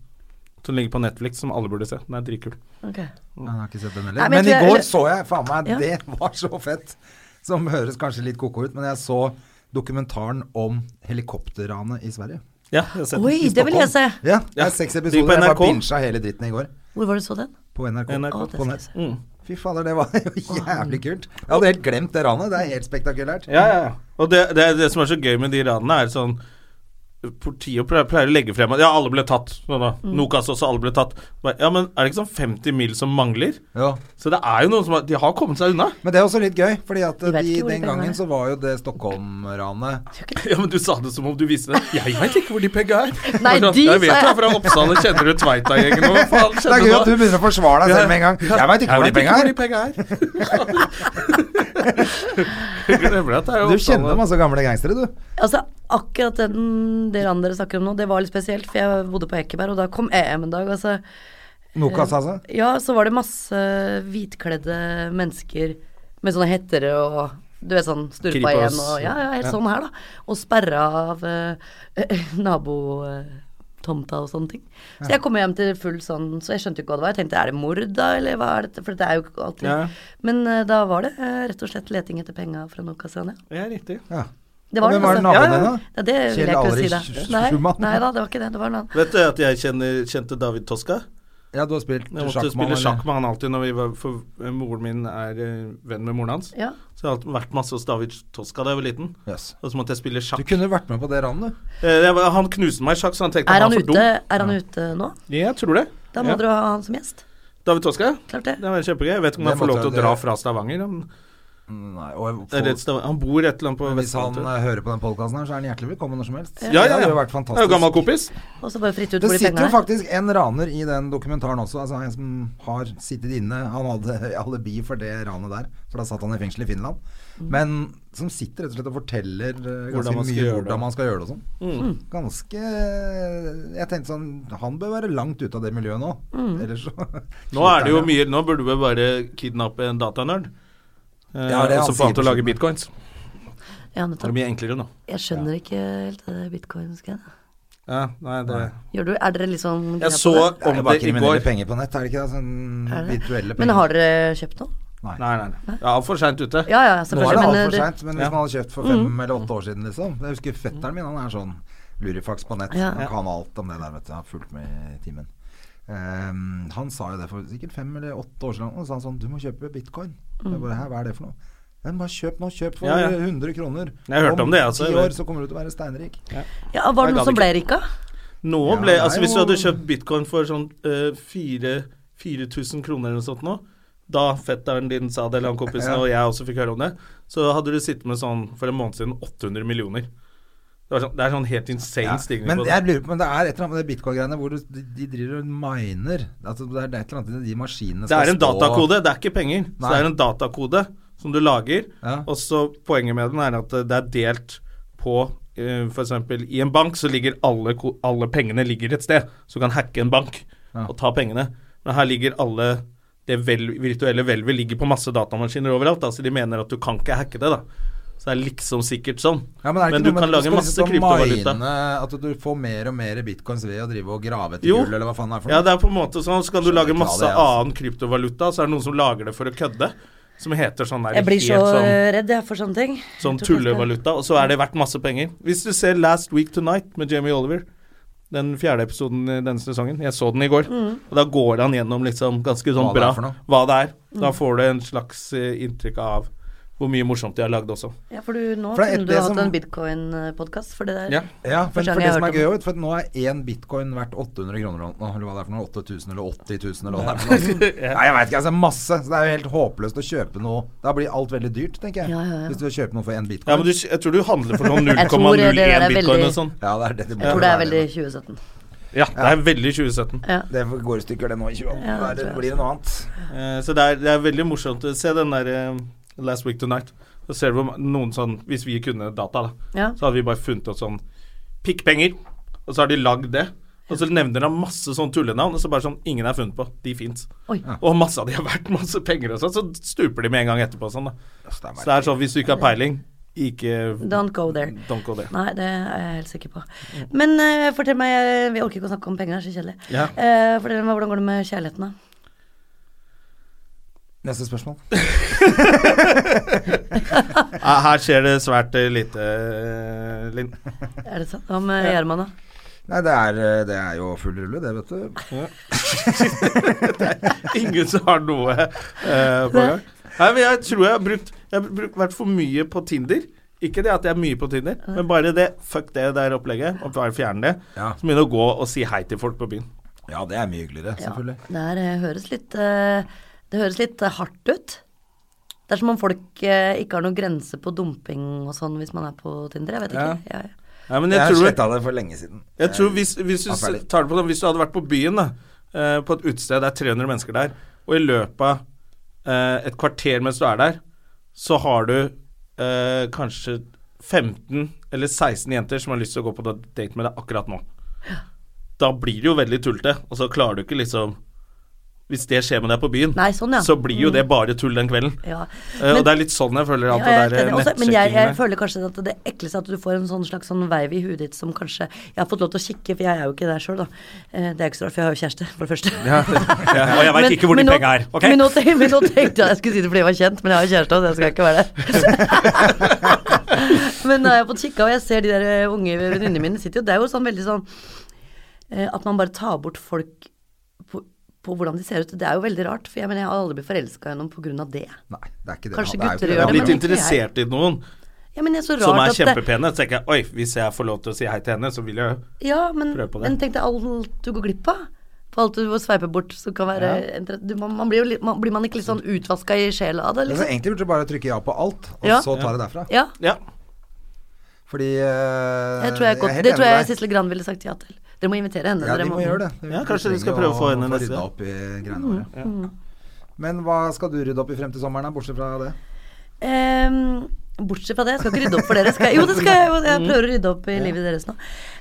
som ligger på Netflix, som alle burde se. Den er dritkul.
Ok.
Jeg har ikke sett den heller.
Nei,
men
men jeg
i
tror-
går så jeg faen meg
Ja.
Det var så fett! Som høres kanskje litt koko ut, men jeg så dokumentaren om helikopterranet i Sverige.
Ja, jeg har sett
Oi,
den.
det vil jeg se.
Ja, det
Ja.
er seks
Ligger på
episoder. Jeg bare
NRK.
binsja hele dritten i går.
Hvor var det du så den?
På NRK.
NRK.
Å, det
på
skal jeg
nett.
se.
Fy fader, det var jo jævlig kult. Jeg hadde helt glemt det ranet. Det er helt spektakulært.
Ja, ja. ja. Og det, det, det som er så gøy med de ranene, er sånn Politiet pleier, pleier å legge frem at Ja, alle ble tatt. Sånn da. Nokas også, alle ble tatt. Bare, Ja, men er det ikke sånn 50 mil som mangler?
Ja.
Så det er jo noen som har De har kommet seg unna.
Men det er også litt gøy, fordi at
Vi vet
de,
ikke hvor de
den
pengene
gangen
er.
så var jo det Stockholm-ranet
Ja, men du sa det som om du visste det. Jeg vet ikke hvor de pengene er.
Nei,
Bare sånn,
de
jeg vet
sa
du
jeg.
er fra Oppsal og kjenner du Tveita-gjengen og hva faen
Det er
skjedde
gøy
nå?
at du begynner å forsvare deg selv med en gang. Jeg veit ikke hvor de penga er.
penga er. Jeg glemmer at det er
Du
Oppsal
kjenner
og-
masse gamle gangstere, du.
Altså, akkurat den dere andre snakker om nå, det var litt spesielt, for jeg bodde på Ekeberg, og da kom EM en dag, altså.
Nokas, altså.
Ja, så var det masse hvitkledde mennesker med sånne hetter og du vet sånn sturpa
Kripos.
igjen og ja, ja, helt sånn her, da. Og sperra av eh, nabotomta og sånne ting. Så jeg kom hjem til full sånn, så jeg skjønte jo ikke hva det var. Jeg tenkte er det mord da, eller hva er dette? For det er jo ikke alltid
Ja.
Men eh, da var det eh, rett og slett leting etter penga fra Nokasania.
Ja, riktig.
Ja.
Det var
Hvem var
altså.
naboen
Ja,
din,
ja.
da?
Ja, det vil
Kjell
jeg ikke si
Alrich
deg.
Sch-
Nei,
Schumann?
nei da, det var ikke det. Det var en annen.
Vet du at jeg kjenner, kjente David Toska?
Ja, du har spilt
Jeg måtte
sjakk med
spille sjakk
han.
med han alltid når vi var For eh, moren min er eh, venn med moren hans.
Ja.
Så jeg har alltid vært masse hos David Toska da jeg var liten.
eller? Yes.
Og så måtte jeg spille
Du
sjakk.
kunne vært med på det ranet, du.
Eh, jeg var- han knuste meg i sjakk, så han tenkte
Er han
var for
ute, er han ute nå?
dum. Ja, jeg tror det.
Da må
Ja.
dere ha han som gjest.
David Toska?
Klart det.
Det var kjempegøy. Jeg vet ikke
Det
om han får lov
måtte
til å
jeg-
dra
det-
fra Stavanger. Men
Nei, og
Det er rett sted- Han bor et eller annet på
hvis han
Vestlandet.
eh, hører på den podkasten her, så er han hjertelig velkommen når som helst.
Ja, ja,
Det har jo
ja.
vært
Det er jo gammel
fantastisk.
kompis.
Og så bare fritt ut
Det
hvor de
sitter
pengene
jo
er.
faktisk en raner i den dokumentaren også. Altså En som har sittet inne. Han hadde alibi for det ranet der, for da satt han i fengsel i Finland.
Mm.
Men som sitter rett og slett og forteller eh,
Hvordan
ganske
man skal
mye
gjøre det. Mm.
hvordan man skal gjøre det og sånn.
Mm.
Ganske Jeg tenkte sånn Han bør være langt ute av det miljøet nå.
Mm.
Ellers så
Nå er det jo mye Nå burde vi bare kidnappe en datanerd. Eh,
Ja, det er
og
han
så få han til å
sier.
lage bitcoins.
Ja,
Det er
nettopp.
mye enklere nå.
Jeg skjønner ikke helt det bitcoin-greiene.
Ja, nei, det
Gjør du Er dere litt sånn gira
Jeg
på
så
det?
Det er
om
jo bare
det i
kriminelle
går.
penger på nett, er det ikke det? Sånn
Er det?
virtuelle penger.
Men har dere kjøpt noe?
Nei, nei, nei. Ja, for seint ute.
Ja ja,
Nå er det
selvfølgelig. Men,
altfor
eh,
seint, men hvis
Ja. Mm.
man hadde kjøpt for fem eller åtte år siden, liksom Jeg husker fetteren min, han er sånn lurifaks på nett.
Ja.
Han kan alt om det der, vet du. Han har fulgt med i timen. Ehm, han sa jo det for sikkert fem eller åtte år siden. Han sa sånn Du må kjøpe bitcoin. Jeg bare, Hæ, hva er det for noe? Men bare kjøp nå. Kjøp for
Mm. Ja, ja.
100 kroner.
Jeg hørte om det, altså.
ti år så kommer du til å være steinrik.
det- ja, var
Jeg
det noen
gadd
som ble
ikke.
rika?
Nå
Ja,
ble
det er
Altså, hvis du
jo-
hadde kjøpt bitcoin for sånn eh, fire- 4000 kroner eller noe sånt nå, da fetteren din sa det, eller han kompisen,
Ja.
og jeg også fikk høre om det, så hadde du sittet med sånn for en måned siden 800 millioner. Det, var sånn, det er sånn helt insane
Ja,
stigning
Men
på det.
jeg lurer på, men det er et eller annet med det bitcoin-greiene hvor du, de, de driver og miner. Altså, det er et eller annet de maskinene
Det er en
stå-
datakode, det er ikke penger. Så
Nei.
det er en datakode som du lager,
Ja.
og så poenget med den er at det er delt på eh, for eksempel i en bank så ligger alle, ko- alle pengene ligger et sted, så du kan hacke en bank
Ja.
og ta pengene. Men her ligger alle det vel, virtuelle hvelvet ligger på masse datamaskiner overalt, da, så de mener at du kan ikke hacke det, da. Så det er liksom sikkert sånn.
Ja, men er det ikke noe
du
med
kan
at
lage
du skal
masse
sitte og
kryptovaluta.
mine, At du får mer og mer bitcoins ved å drive og grave etter
Jo.
gull, eller hva faen det er for
Ja,
noe?
det er på en måte sånn, så kan du
Skjønner
lage
ikke hva
masse
det er, altså.
annen kryptovaluta, så er det noen som lager det for å kødde. Som heter sånn der
Jeg blir så
helt sånn
eh, redd jeg for sånne ting.
Sånn
Jeg tror kanskje-
tullevaluta, og så er det verdt masse penger. Hvis du ser Last Week Tonight med Jamie Oliver, den fjerde episoden i denne sesongen, jeg så den i går,
Mm.
og da går han gjennom liksom ganske sånn
Hva det er
bra
for noe?
hva det er.
Mm.
Da får du en slags eh, inntrykk av hvor mye morsomt de har lagd også.
Ja, for du, nå
For det er et-
kunne du
det
hatt
som-
en bitcoin-podkast for det der.
Ja.
Ja, for,
Første gang
for det
jeg
som er
hørte
gøy,
om
vet, du, for nå er én bitcoin verdt 800 kroner nå, eller hva det er for noe, 8000 eller 80 000 eller hva det er for noe. Nei, jeg veit ikke, altså masse. Så det er jo helt håpløst å kjøpe noe. Da blir alt veldig dyrt, tenker jeg.
Ja, ja, ja.
Hvis du vil kjøpe noe for én bitcoin.
Ja, men du, jeg tror du handler for sånn
Jeg tror det
0,01
der er
bitcoin
veldig-
og sånn.
Ja, det er det det
Jeg tror
burde
det
være.
er veldig 2017.
Ja, det er veldig 2017.
Ja.
Det går i stykker, det nå i 2018.
Ja, det
det,
tror jeg.
blir det noe annet.
Eh, Så det er, det er veldig morsomt. Se den der eh, Last Week Tonight. Så ser du hvor ma- noen sånn Hvis vi kunne data, da.
Ja.
Så hadde vi bare funnet opp sånn pikkpenger, og så har de lagd det. Og så nevner han masse sånn tullenavn, og så bare sånn Ingen er funnet på. De fins.
Oi.
Og masse av de har vært masse penger og sånn, så stuper de med en gang etterpå og sånn, da.
Jøss, det er
Så det er sånn hvis du ikke har peiling, ikke
Don't go there.
Don't go there.
Nei, det er jeg helt sikker på. Men eh, fortell meg eh, Vi orker ikke å snakke om penger, det er så kjedelig.
Ja.
Eh, fortell meg, hvordan går det med kjærligheten, da?
Neste spørsmål.
Ja, Her skjer det svært eh, lite, eh, Linn.
Er det sant? Hva med Gjerman, da?
Nei, det er, eh, det er jo full rulle, det, vet du.
Ingen som har noe eh, på gang. Nei, men jeg tror jeg har brukt Jeg har brukt, vært for mye på Tinder. Ikke det at jeg er mye på Tinder, men bare det fuck det der opplegget. Og bare fjerne det.
Ja.
Så begynne å gå og si hei til folk på byen.
Ja, det er mye hyggeligere, selvfølgelig.
Det her eh, høres litt eh, Det høres litt eh, hardt ut. Det er som om folk eh, ikke har noen grense på dumping og sånn hvis man er på Tinder. Jeg vet ikke. Ja. Ja.
Nei, men
Jeg,
jeg,
har
tror,
sletta det for lenge siden.
jeg tror hvis, hvis,
Eh,
du,
Ja,
s-
ferdig.
tar det på, sånn, hvis du hadde vært på byen, da, eh, på et utested, det er 300 mennesker der, og i løpet av eh, et kvarter mens du er der, så har du eh, kanskje 15 eller 16 jenter som har lyst til å gå på da- date med deg akkurat nå. Da blir det jo veldig tullete, og så klarer du ikke liksom Hvis det skjer med deg på byen,
Nei, sånn, ja.
så blir jo det bare tull den kvelden.
Ja.
Eh,
Men-
og det er litt sånn jeg føler at
Ja, jeg er
det
helt
der
enig. Også, men jeg, jeg
nettsjekkingene-
føler kanskje at det ekleste er at du får en sånn slags sånn veiv i huet ditt som kanskje Jeg har fått lov til å kikke, for jeg er jo ikke der sjøl, da. Eh, Det er ikke så rart, for jeg har jo kjæreste, for det første.
ja, og jeg
Men-
veit ikke hvor de
men nå-
penga er. ok?
Men nå, tenk- men nå tenkte jeg at jeg skulle si det fordi jeg var kjent, men jeg har jo kjæreste, så jeg skal ikke være der. men da har jeg fått kikka, og jeg ser de der eh, unge venninnene mine sitter jo Det er jo sånn veldig sånn eh, at man bare tar bort folk på, på hvordan de ser ut. Det er jo veldig rart, for jeg mener jeg har aldri blitt forelska i noen på grunn av det.
Nei, det er ikke det.
Kanskje
Ja, det
gutter
er
Jeg
jo
gjør
ikke
har
det,
blitt
men ikke jeg.
interessert i noen
Ja, men det er så rart
som er
at det-
kjempepene. Så tenker jeg oi, hvis jeg får lov til å si hei til henne, så vil jeg
Ja, men,
Prøv på det.
men tenk deg alt du går glipp av. For alt du må sveipe bort, så kan være en trett- du, man, man blir, jo litt, man, blir man ikke litt sånn utvaska i sjela av det,
Altså,
liksom?
egentlig burde du bare trykke ja på alt, og
Ja.
så ta det derfra.
Ja.
Ja.
Fordi eh,
Jeg tror jeg,
er
godt,
helt
det
enig
tror
med
jeg
deg.
Sissel Gran ville sagt ja til. Dere må invitere henne.
Ja,
dere
de må gjøre det.
Ja, kanskje vi skal
trenger
prøve å få henne
få
neste
rydda
gang.
opp i greiene våre.
Mm-hmm.
Men hva skal du rydde opp i frem til sommeren, da, bortsett fra det?
Ehm, bortsett fra det, jeg skal ikke rydde opp for dere. Skal jeg? Jo, det skal jeg. jo, Jeg prøver å rydde opp i livet deres nå.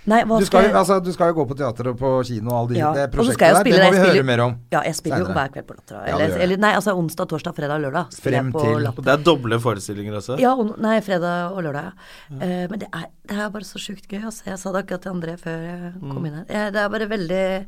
Nei, hva
Mm. Du
skal
skal,
jeg
jo- altså, du skal jo gå på teater og på kino og alle de
Ja,
det
og så skal
prosjektet
jeg jo
der. Det må vi
spille- jeg spiller-
høre mer om.
Ja, jeg spiller jo
Senere.
hver kveld på Latter.
Ja, du
Eller,
gjør det.
eller, nei, altså onsdag, torsdag, fredag og lørdag. spiller
Frem
jeg på
til-
Latter.
Og det er doble forestillinger også.
Ja, on- nei, fredag og lørdag, ja. Eh, men det er, det er bare så sjukt gøy. Altså. Jeg sa det akkurat til André før jeg
Mm.
kom inn her. Jeg, det er bare veldig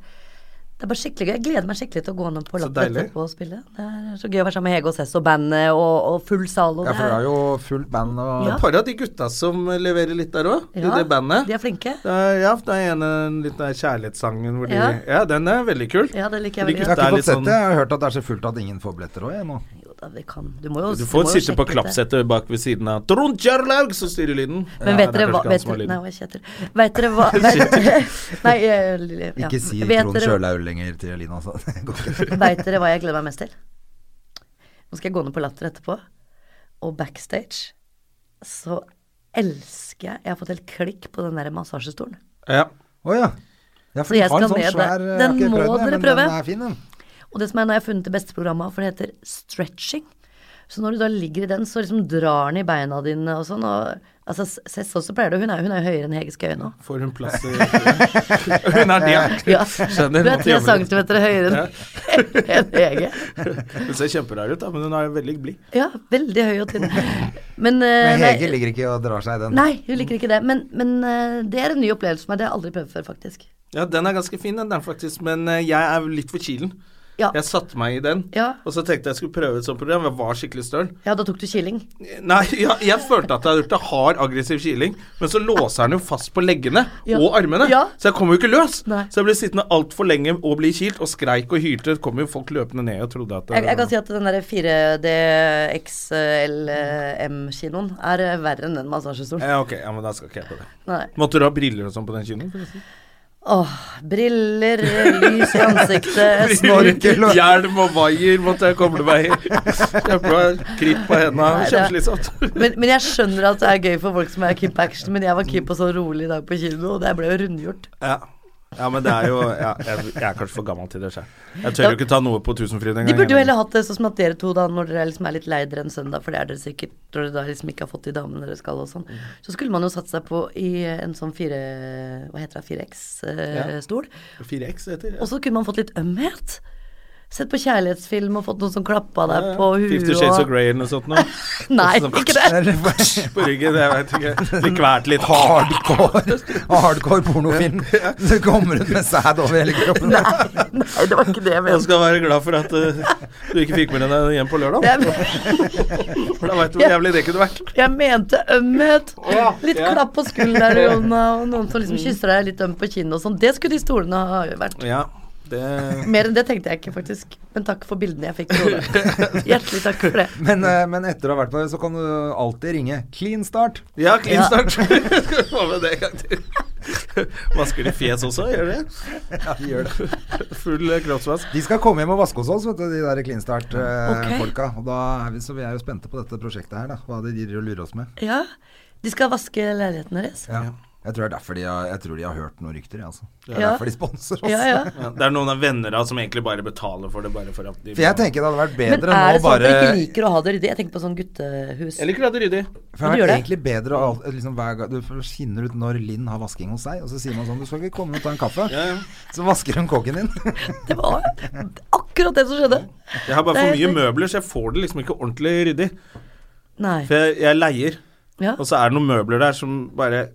Det er bare skikkelig gøy. Jeg gleder meg skikkelig til å gå ned på Latter
deilig.
etterpå og spille. Det er så gøy å være sammen med Hege og Cess og bandet og, og full sal. Og
Ja, for
det
det
er-
er jo fullt band og
Ja.
Et par av de gutta som leverer litt der òg, i
Ja,
det bandet.
De er flinke.
Det er, ja, det er en, en liten der kjærlighetssangen hvor de ja.
Ja.
den er veldig kul.
Ja, det liker jeg
De
veldig
Jeg
godt.
gutta
har
er
ikke
litt
fått sett
sånn
det. Jeg har hørt at det er så fullt at ingen får billetter òg, jeg nå.
Jo da, vi kan Du må jo
Du
må
får
jo
sitte på
sjekke ut det.
klappsettet bak ved siden av Trond Kjærlaug, så styrer lyden. Ja,
Men vet
det er
dere hva
kanskje ikke han
vet,
som har
dere-
lyden.
Nei, hva heter Vet dere hva vet, Nei, eh, Lille, ja.
Ikke si
Vet
Trond
dere-
Sjølaug lenger til Elina, altså. Det går ikke.
Veit dere hva jeg gleder meg mest til? Nå skal jeg gå ned på Latter etterpå. Og backstage så elsker jeg Jeg har fått helt klikk på den der massasjestolen.
Ja.
Å ja. Ja, for
Så
de
jeg
har en
skal
sånn
ned der.
svær eh, jeg har
Den
ikke
må
prøvd
dere
men
prøve.
Den er fin, den.
Og det som er, nå har jeg funnet det beste programmet, for det heter stretching. Så når du da ligger i den, så liksom drar den i beina dine og sånn. Og, altså, Cess også pleier det. Hun er, hun er jo høyere enn Hege Skøye nå.
Får hun plass i Hun er det.
Ja.
Skjønner,
Hun
måtte
er tre
jobbe litt.
centimeter høyere enn enn Hege.
Hun ser kjemperar ut, da, men hun er veldig blid.
Ja, veldig høy og tynn. Men, eh,
Men
nei-
Hege ligger ikke og drar seg i den.
Nei, hun liker ikke det. Men, men eh, det er en ny opplevelse for meg. Det har jeg aldri prøvd før, faktisk.
Ja, den er ganske fin, den der, faktisk, men eh, jeg er litt for kilen.
Ja,
Jeg satte meg i den,
Ja.
og så tenkte jeg skulle prøve et sånt program. Jeg var skikkelig støl.
ja da tok du kiling.
Nei, ja, jeg følte at jeg hadde gjort det hard, aggressiv kiling, men så låser den jo fast på leggene
Ja.
og armene,
Ja.
så jeg kom jo ikke løs.
Nei.
Så jeg ble sittende altfor lenge og bli kilt, og skreik og hylte. Det kom jo folk løpende ned og trodde at det
Jeg, jeg kan si at den der 4DXLM-kinoen er eh, verre enn den massasjestolen.
Ja, ok, ja, men da skal ikke jeg på det.
Nei.
Måtte du ha briller og sånn på den kinoen? forresten?
Åh, briller, lys i ansiktet, snork
Snorkel og-
Hjelm og vaier måtte jeg koble meg i. Kjempe kritt på henda.
Nei, det er-
Kjempeslitsomt.
men, men jeg skjønner at det er gøy for folk som er keep action, men jeg var keep på så rolig i dag på kino, og det ble jo rundgjort.
Ja. ja, men det er jo ja, jeg, jeg er kanskje for gammel til det sjøl. Jeg tør jo ikke ta noe på Tusenfryd engang.
De burde jo
jeg.
heller hatt det sånn som at dere to, da, når dere liksom er litt lei dere en søndag, for det er dere sikkert når dere da liksom ikke har fått de damene dere skal og sånn,
Mm.
så skulle man jo satt seg på i en sånn fire Hva heter det, 4X-stol.
4X heter det.
Og så kunne man fått litt ømhet. Sett på kjærlighetsfilm og fått noen som klappa deg på huet.
Fifty Shades of Grey eller noe sånt noe.
Nei,
Sånn-
ikke det.
På ryggen, jeg vet ikke. Blir kvalt litt hardt.
Hardcore, hardcore pornofilm. Du kommer ut med sæd over hele kroppen.
Nei, det var ikke det jeg
Jeg
mente.
skal være glad for at eh, du ikke fikk med deg hjem på lørdag.
Jeg,
For da veit du hvor jævlig det kunne vært.
jeg mente ømhet.
ja,
Litt
ja. Mm.
klapp på skulderen og noen som liksom kysser deg litt ømt på kinnet og sånn. Det skulle de stolene ha vært.
Ja, det
Mer enn det tenkte jeg ikke, faktisk. Men takk for bildene jeg fikk. Frode. Hjertelig takk for det.
Men, eh, men etter å ha vært på det, så kan du alltid ringe Clean Start.
Ja, clean
Ja.
start. Skal vi få med det en gang til. Vasker de fjes også, gjør de det?
Ja, de gjør det.
Full eh, kroppsvask.
De skal komme hjem og vaske hos oss, vet du, de der Clean
Ok.
Start-folka. Eh, Og da er vi, så vi er jo spente på dette prosjektet her, da. Hva de driver og lurer oss med.
Ja, de skal vaske leiligheten deres.
Ja. Jeg tror det er derfor de har, jeg tror de har hørt noen rykter, jeg, altså. Det er
Ja.
derfor de sponser oss.
Ja, ja.
Ja, det er noen av venner av som egentlig bare betaler for det, bare for at de
For jeg tenker det hadde vært
Men er
bedre
det
nå
sånn at
bare
dere ikke liker å ha det ryddig? Jeg tenker på sånn guttehus.
Jeg liker at det er ryddig.
For det
Gjør
har vært
det.
egentlig bedre å al- liksom, hver gang, Du finner ut når Linn har vasking hos deg, og så sier man sånn Du skal ikke komme og ta en kaffe?
ja.
Så vasker hun kåken din.
Det var akkurat det som skjedde.
Jeg har
Eh,
bare for
Det er-
mye møbler, så jeg får det liksom ikke ordentlig ryddig.
Nei.
For jeg, jeg leier,
Ja.
og så er det noen møbler der som bare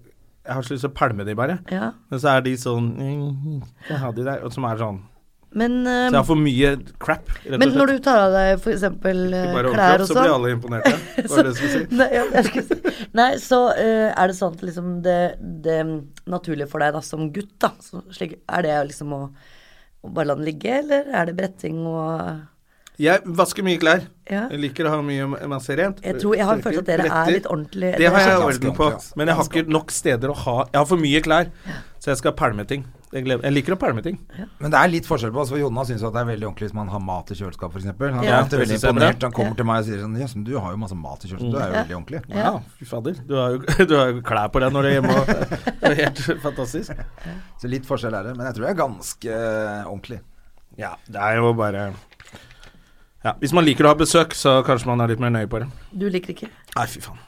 Jeg har så lyst til å pælme de, bare.
ja.
Men så er de sånn mm, Jeg har de der, og som er sånn
Men,
Så
eh,
jeg har for mye crap, rett og slett.
men når du tar av deg f.eks.
Ikke bare
klær
overkropp,
og
så blir
sånn
alle imponerte. Det var det jeg skulle si.
Nei, ja, jeg skulle si- Nei, så eh, er det sånn at liksom det, det naturlige for deg da, som gutt, da, så slik, er det liksom å, å bare la den ligge, eller er det bretting og
Jeg vasker mye klær.
Ja.
Jeg liker å ha mye masse rent.
Jeg tror- jeg har en
Tørker,
følelse at dere er
bretter.
litt ordentlig-
Det har
dere er
jeg
ganske
orden på.
ordentlig, altså.
Men jeg har ikke nok steder å ha Jeg har for mye klær, så jeg skal pælme ting. Jeg, gleder, jeg liker å pælme ting.
Men det er litt forskjell på oss, for Jonna syns at det er veldig ordentlig hvis man har mat i kjøleskapet, f.eks. Han er
Ja,
ofte
det
veldig
synes jeg er bra.
imponert. Han kommer
Ja.
til meg og sier sånn Jøss, men du har jo masse mat i kjøleskapet, du er jo
Ja.
veldig ordentlig.
Ja, fy fader. Du har, jo, du har jo klær på deg når du er hjemme. Og, det er helt fantastisk.
Så litt forskjell er det, men jeg tror jeg er ganske eh, ordentlig.
Ja, det er jo bare ja, Hvis man liker å ha besøk, så kanskje man er litt mer nøye på det.
Du liker ikke?
Nei, fy faen.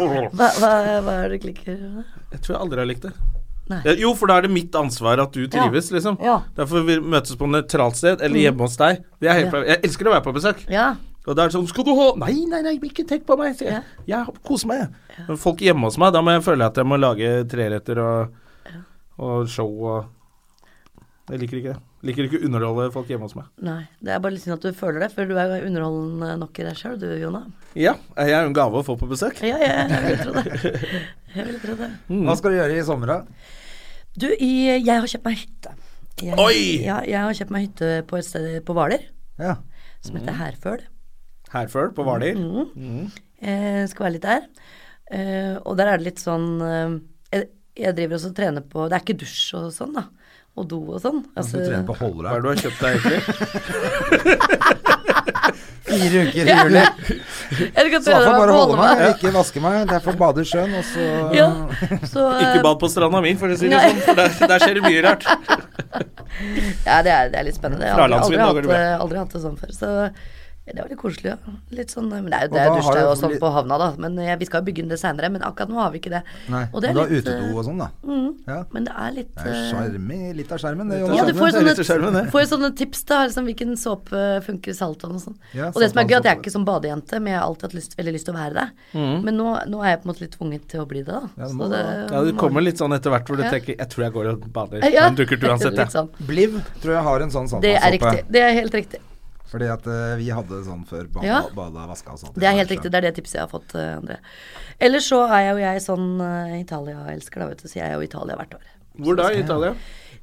Hva, hva, hva er det du liker?
Jeg tror jeg aldri har likt det.
Nei.
Eh, Jo, for da er det mitt ansvar at du trives, liksom.
Ja.
Derfor vi møtes på nøytralt sted, eller hjemme hos deg. Det er helt,
Mm. Ja.
Jeg elsker å være på besøk.
Ja.
Og da er det sånn Skal du ha Nei, nei, nei, ikke tenk på meg, sier jeg. Jeg koser meg, jeg. Men folk hjemme hos meg, da må jeg føle at jeg må lage treretter og, og show og Jeg liker ikke det. Liker ikke å underholde folk hjemme hos meg.
Nei. Det er bare litt synd at du føler det, for du er jo underholdende nok i deg sjøl, du Jonna.
Ja, jeg er jo en gave å få på besøk.
Ja, ja, jeg vil tro det. Jeg vil tro det.
Hva skal du gjøre i sommer, da?
Du, i, jeg har kjøpt meg hytte. Jeg,
Oi!
Ja, jeg har kjøpt meg hytte på et sted på Hvaler
Ja.
som heter Herføl.
Herfør, på Hvaler.
Eh, skal være litt der. Eh, og der er det litt sånn eh, jeg, jeg driver også og trener på Det er ikke dusj og sånn, da. Og do og sånn.
Du trener på
Hva er
Hollerud.
det du har kjøpt deg egentlig?
Fire uker i juli.
jeg kan
Så da får
trene
jeg
meg
bare
på
holde meg,
Holmen.
ikke vaske meg. Derfor bader i sjøen, og så
Ja, så,
Ikke
eh,
bad på stranda mi, for å si det
Nei.
sånn. For der, der skjer det mye rart.
ja det, er, det er litt spennende. Jeg har aldri, aldri,
Fralandsvind, da går det
hatt, eh, aldri hatt det sånn før. Så det var litt koselig, ja. Litt sånn, eh, men det er jo
Og
det er
da
dusj
har
der
jo
og sånn
litt-
på havna, da. Men eh, vi skal jo bygge inn det seinere. Men akkurat nå har vi ikke det.
Nei.
Og
Men
det er
du har
litt, eh,
utedo og sånn, da. Ja.
Men det er litt
Det er
eh,
skjermi- litt av skjermen, det.
Litt av
Jonas
Ja, du
Skjermen.
Det
får
er litt
sånne,
skjermen, det.
får sånne tips da, liksom, hvilken såpe funker i saltvann og sånn.
Ja,
og
saltvann,
det som er gøy, at jeg er
saltvann.
ikke som badejente, men jeg har alltid hatt lyst, veldig lyst til å være det. Men nå, nå er jeg på en måte litt tvunget til å bli det, da.
Ja, det
Så
må
det,
Mm. Ja, Det kommer litt sånn etter hvert hvor du
Ja.
tenker Jeg tror jeg går og bader.
Ja,
Den dukker uansett,
litt
jeg.
sånn.
Bliv tror jeg har en sånn sånn
Det er riktig. Det er helt riktig.
Fordi at eh, vi hadde sånn før bada,
Ja.
bada vaska og sånt.
Det er helt riktig, det er det tipset jeg har fått, eh, André. Ellers så er jo jeg sånn eh, Italia-elsker, da, vet du, så jeg er jo i Italia hvert år.
Hvor da, i Italia?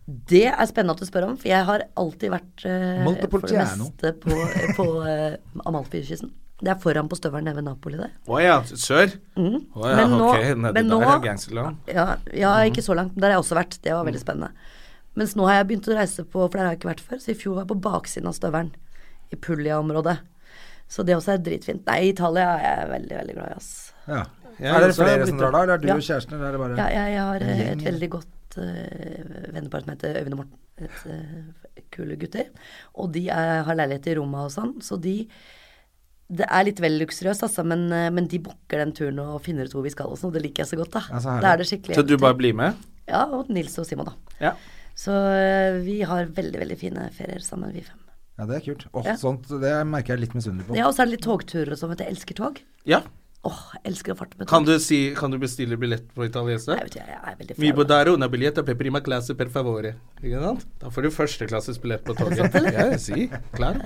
Det er spennende at du spør om, for jeg har alltid vært eh, for det
Montepulciano.
meste på, på eh, Amalfi-kysten. Det er foran på støvelen nede ved Napoli der.
Å ja, sør? Å ja,
Men nå-
ok, nedi
men nå-
der er gangsterland. Mm.
Ja, ja ikke så langt. men Der har jeg også vært. Det var veldig spennende. Mens nå har jeg begynt å reise på, for der har jeg ikke vært før. Så i fjor var jeg på baksiden av støvelen. I Puglia-området. Så det også er dritfint. Nei, Italia er jeg veldig, veldig glad i, ass.
Ja.
Ja,
er det
så er
flere
det
som
blitt-
drar da, eller er du
Ja.
og kjæresten, eller er det bare
Ja, jeg, jeg har eh,
gjeng,
et veldig godt eh, vennepar som heter Øyvind og Morten. Et, eh, kule gutter. Og de er, har leilighet i Roma og sånn, så de Det er litt vel luksuriøst, altså, men, eh, men de booker den turen og finner ut hvor vi skal og sånn. og Det liker jeg så godt, da.
Ja, så herlig.
da er det skikkelig
Så du bare blir med?
Ja, og Nils og Simon, da.
Ja.
Så eh, vi har veldig, veldig fine ferier sammen, vi fem.
Ja, det er kult. Åh,
Ja.
sånt, Det merker jeg litt misunnelig på.
Ja, og så er det litt togturer og sånn, vet du. Jeg elsker tog.
ja.
Åh, jeg elsker å farte med
Kan
tog.
du, si, kan du bestille billett på italiensk?
Jeg vet ikke, jeg er veldig
Mi
flau.
bodare una biljetta per prima classe per favore. Ikke sant? Da får du førsteklasses billett på toget. Ja, si. Klar.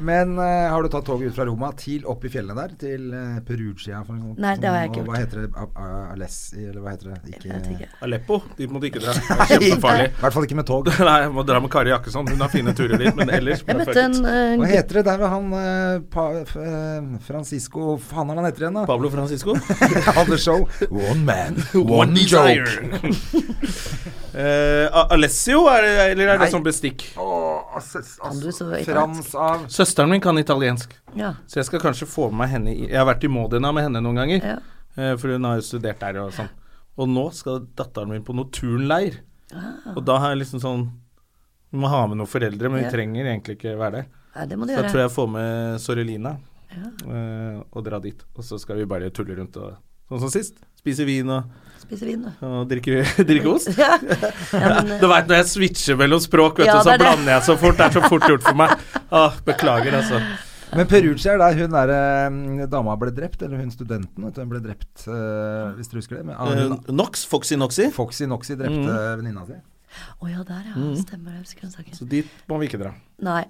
Men eh, har du tatt toget ut fra Roma til opp i fjellene der? Til eh, Perugia? For noe sånt,
Nei, det har
sånn,
jeg ikke
og Hva heter det? A- A- Alessi, eller hva heter det?
Jeg vet ikke.
Aleppo, dit må du ikke dra. Det er kjempefarlig.
I hvert fall ikke med tog.
Nei, jeg må dra med Kari Jakkesson. Hun har fine turer dit, men ellers
Jeg
bare
møtte
fuck it.
en, eh, en
Hva
gutt
heter det der ved han eh, pa, f, eh, Francisco Faen, er han heter igjen, da?
Pablo Francisco.
Han hadde show. One man, one joke.
Eh, A- Alessio, er det, eller er
Nei.
det sånn bestikk?
Åh, altså, altså,
du så
Frans av
Søsteren min kan italiensk,
Ja.
så jeg skal kanskje få med meg henne i- Jeg har vært i Modena med henne noen ganger,
Ja.
eh, for hun har jo studert der og sånn. Og nå skal datteren min på noe turnleir. Og da har jeg liksom sånn Vi må ha med noen foreldre, men vi
Ah. Ja.
trenger egentlig ikke være der.
ja, det må du
Så jeg tror
gjøre.
jeg får med Sorelina eh, og drar dit. Og så skal vi bare tulle rundt og sånn som sist. Spise vin og,
Spise vin, du.
og drikke, drikke ost.
Ja. ja, men,
Du veit når jeg switcher mellom språk, vet
Ja,
du, så
det er det.
blander jeg så fort. Det er så fort gjort for meg. Ah, beklager, altså.
Men Perugia er der hun der eh, dama ble drept, eller hun studenten, vet du, hun ble drept, eh, hvis dere husker det. Men, ah,
Eh,
hun, Mm.
Nox, Foxy Noxy.
Foxy Noxy drepte venninna si.
eh, Å ja, der ja. Stemmer det. Jeg husker den saken.
Så dit må vi ikke dra.
Nei.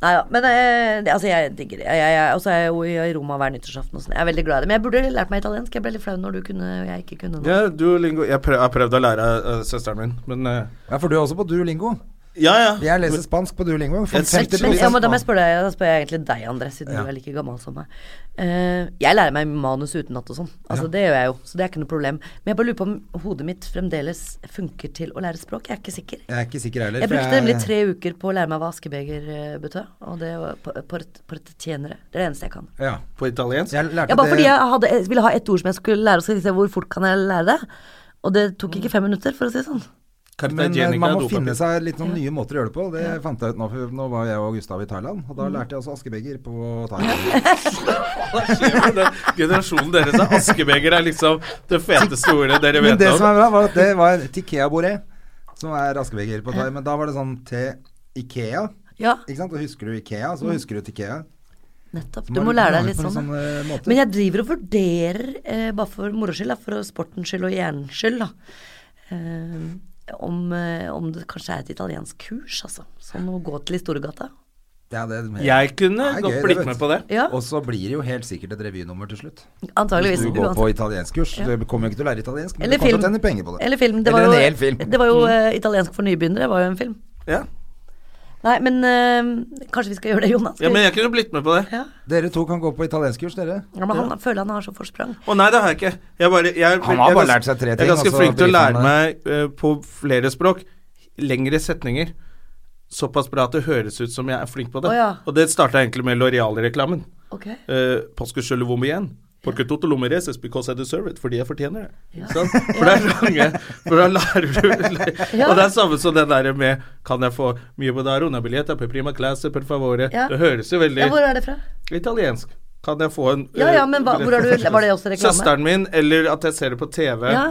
Nei ja. Men eh, det- altså, jeg digger det. Jeg- jeg- Og så er jeg jo i i Roma hver nyttårsaften og sånn. Jeg er veldig glad i det. Men jeg burde lært meg italiensk. Jeg ble litt flau når du kunne og jeg ikke kunne noe.
Ja, du, Lingo, jeg prøv, har prøvd å lære eh, søsteren min, men eh,
Ja, for du er også på Duolingo.
Ja, ja.
Jeg leser spansk på Duolingo. For
Jeg synes-
50
Men, ja, men da må
spansk.
jeg spørre deg, da spør jeg egentlig deg, André, siden
Ja.
du er like gammel som meg. Eh, jeg lærer meg manus utenat og sånn. Altså, Det gjør jeg jo, så det er ikke noe problem. Men jeg bare lurer på om hodet mitt fremdeles funker til å lære språk. Jeg er ikke sikker.
Jeg er ikke sikker heller.
Jeg
for
brukte nemlig tre uker på å lære meg hva askebeger eh, betød, og det var por- por- portetjenere. Det er det eneste jeg kan.
Ja.
På italiensk?
Jeg lærte
Ja, bare
det-
fordi jeg hadde, jeg ville ha ett ord som jeg skulle lære, og så tenkte jeg hvor fort kan jeg lære det? Og det tok ikke fem minutter, for å si det sånn.
Men eh,
Cartagena
man må
dopapir.
finne seg litt noen nye måter å gjøre det på. Det fant jeg ut nå, for nå var jeg og Gustav i Thailand, og da
Mm.
lærte jeg også askebeger på Thailand.
Hva skjer med den generasjonen deres? er Askebeger er liksom det feteste ordet dere
Men
vet
det som er
om.
bra, var at det var tikea bore, som er askebeger på thai. Men da var det sånn til Ikea.
Ja,
Ikke sant? Og husker du Ikea,
Mm.
så husker du Tikea.
nettopp.
Så
Du
man
må lære deg litt
på en
sånn. da.
sånn, eh, måte.
Men jeg driver og vurderer, eh, bare for moro skyld, da, for sportens skyld og hjernens skyld, da, eh, om, eh, om det kanskje er et italiensk kurs, altså. Som å gå til i Storgata.
Ja, det,
Jeg kunne
Det er
godt
gøy,
blitt
vet
med
du.
på det.
Ja.
Og så blir det jo helt sikkert et revynummer til slutt.
Antageligvis.
Hvis du går
uansett.
på italienskkurs. Du kommer jo ikke til å lære italiensk, men
Eller
du kommer
film.
til å tjene penger på det.
Eller film. Det var
Eller en
jo,
hel film. Mm.
Det var jo eh, italiensk for nybegynnere, var jo en film.
Ja.
Nei, men eh, kanskje vi skal gjøre det, Jonas?
ja, men jeg kunne blitt med på det.
ja.
Dere to kan gå på italienskkurs, dere.
Ja, men han føler han har så forsprang.
Å nei, det har jeg ikke. Jeg bare, jeg,
Han har
jeg
bare
er gans-
lært seg tre ting, altså,
Jeg
og
er ganske
så
flink til å
driter
lære
han
meg eh, på flere språk lengre setninger. Såpass bra at det høres ut som jeg er flink på det.
Å ja.
Og det starta egentlig med Loreal-reklamen.
Ok.
Uh, Pasque je le vous bien. Porque tout le monde reses because I deserve it. Fordi jeg fortjener det. Ikke sant? For det er lange For da lærer du
Ja.
Og det er samme som den derre med Kan jeg få mye på darona billetta per prima classe per favore?
Ja.
Det høres jo veldig
Ja, hvor er det fra?
Italiensk. Kan jeg få en
Ja,
eh,
ja, men hva-
billett
hvor er
for
du-
første
var det også
klasse?
reklame?
Søsteren min, eller at jeg ser det på TV.
Ja.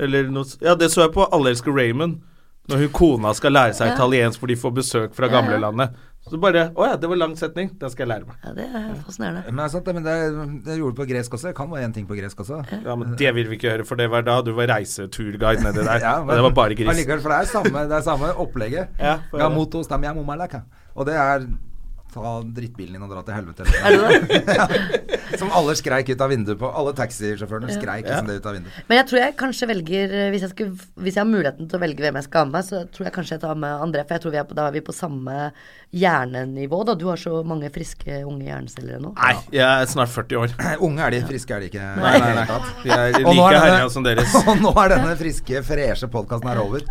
Eller noe, s- ja, det så jeg på Alle elsker Raymond. Når hun kona skal lære seg italiensk for de får besøk fra
Ja, ja.
gamlelandet. Så bare Å ja, det var lang setning. Den skal jeg lære meg.
Ja, det er fascinerende.
Men, det er sant, det, men det, det gjorde du på gresk også. Jeg kan bare én ting på gresk også.
Ja, men Det vil vi ikke høre, for det var da du var reiseturguide nedi der.
Ja,
og det var bare gris.
Allikevel, for det er samme, det er samme opplegget.
Ja, for-
Gamoto stamia mumalaka. Og det er ta drittbilen din og dra til helvete.
Er det det?
Som alle skreik ut av vinduet på. Alle taxisjåførene skreik liksom det ut av vinduet.
Men jeg tror jeg kanskje velger eh, hvis jeg, skulle, hvis jeg har muligheten til å velge hvem jeg skal ha med, så tror jeg kanskje jeg tar med André. For jeg tror vi er på, da er vi på samme hjernenivå, da. Du har så mange friske unge hjerneceller ennå.
Nei, jeg er snart 40 år.
Unge er de, friske er de ikke.
Nei, nei, nei. Jeg er
Og nå er
like herja
denne-
som deres.
Og nå er denne friske, freshe podkasten her over.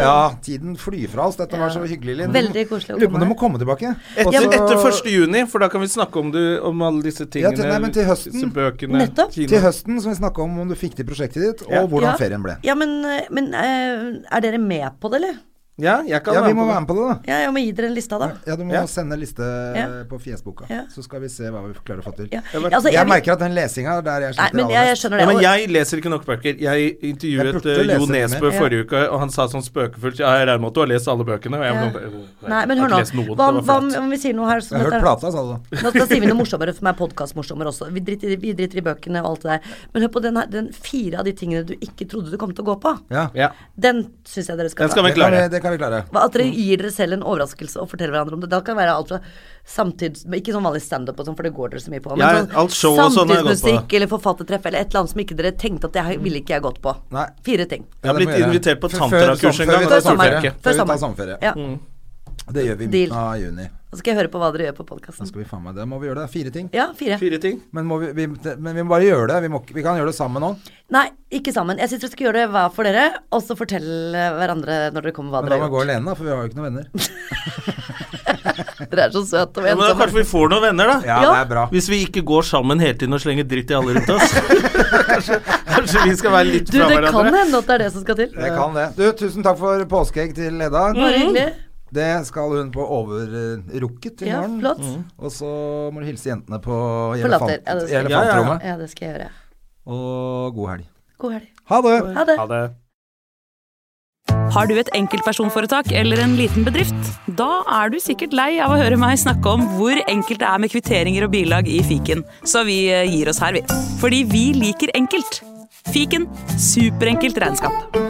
Ja, tiden flyr fra oss. Dette var så hyggelig, Linn.
Veldig koselig å
Lurer på om
komme.
du må komme tilbake.
Etter,
Også-
etter 1. juni, for da kan vi snakke om, du, om alle disse
Ja,
tingene.
til- nei, men til høsten.
disse bøkene,
Nettopp.
kino.
Til høsten så vil vi snakke om om du fikk til prosjektet ditt, og hvordan
ja.
ferien ble.
Ja, men, eh, men eh, er dere med på det, eller?
Ja, jeg kan
Ja, vi
være
må
med på det.
være med på det, da.
Ja, jeg må gi dere en lista, da.
Ja, du må
Ja.
sende liste eh,
Ja.
på Fjesboka,
Ja.
så skal vi se hva vi klarer å få til.
Ja.
Jeg,
Altså, jeg vil-
merker at den lesinga der jeg
Nei,
sliter
men jeg, jeg
aller mest.
Ja,
skjønner det.
men
og-
jeg leser ikke nok bøker. Jeg
Jeg
intervjuet
burde
eh, Jo
lese litt
Nesbø
mer.
forrige uke, og han sa sånn spøkefullt Ja, jeg regner med at du har lest alle bøkene. Og jeg,
Ja.
bare, «Åh,
Nei, men
jeg har
hør nå.
ikke lest noen, det
Hva, hva
var
om
flaut.
om vi sier noe her som
Jeg har
dette
hørt
her-
plata, sa du da.
Nå skal sier vi noe morsommere som er podkastmorsommere også. Vi driter, i- vi driter i bøkene og alt det der. Men hør på den, her, den fire av de tingene du ikke trodde du kom til å gå på.
Ja.
Ja,
Den syns jeg dere
Den
skal
skal
ta.
vi
Det kan, vi,
klare.
det kan vi klare.
Hva- At dere gir dere selv en overraskelse og forteller hverandre om det. Da kan det være alt fra samtids... men Ikke sånn vanlig standup og sånn, for det går dere så mye på.
Ja,
sånn
alt show og sånn har jeg gått på.
samtidsmusikk eller forfattertreff eller et eller annet som ikke dere tenkte at det her ville ikke jeg gått på.
Nei.
Fire ting.
Jeg har
det må
blitt
gjøre.
invitert på
Før-
tanterakurs
før-
en
Før
gang, og
vi
da
Før
tar
turte
sommer.
jeg
sommerferie.
ikke.
Før
Før
vi tar
sommer.
sommerferie.
Ja.
Mm.
Det gjør vi i
Deal.
midten av juni.
Så skal jeg høre på hva dere gjør på
Da
podkasten.
skal vi faen meg det. Må vi gjøre det? Fire ting.
Ja, fire.
Fire ting.
Men, må vi, vi, men vi må bare gjøre det. Vi, må, ikke- vi kan gjøre det sammen nå.
Nei, ikke sammen. Jeg syns dere skal gjøre det hver for dere, og så fortelle hverandre når dere kommer hva
Men da
dere
må
har
vi gå
gjort.
alene, da, for vi har jo ikke noen venner.
Dere er så søte og
Ja, men da
ensomme.
kanskje vi får noen venner, da.
Ja,
Ja.
det er bra.
Hvis vi ikke går sammen hele tiden og slenger dritt i alle rundt oss. kanskje, kanskje vi skal være litt
Du,
fra
det kan
hverandre.
hende at det er det som skal til.
Jeg kan det. Du, tusen takk for påskeegg til Edda.
Bare hyggelig.
Det skal hun på overrukket i
Ja,
morgen.
flott.
Og så må du hilse jentene på
Forlater.
elefant,
Ja, det skal jeg.
elefantrommet.
Ja, det skal jeg gjøre.
Og god helg.
God helg.
Ha det!
Ha det.
Ha det.
Har du et enkeltpersonforetak eller en liten bedrift? Da er du sikkert lei av å høre meg snakke om hvor enkelt det er med kvitteringer og bilag i fiken, så vi eh, gir oss her, vi. Fordi vi liker enkelt. Fiken superenkelt regnskap.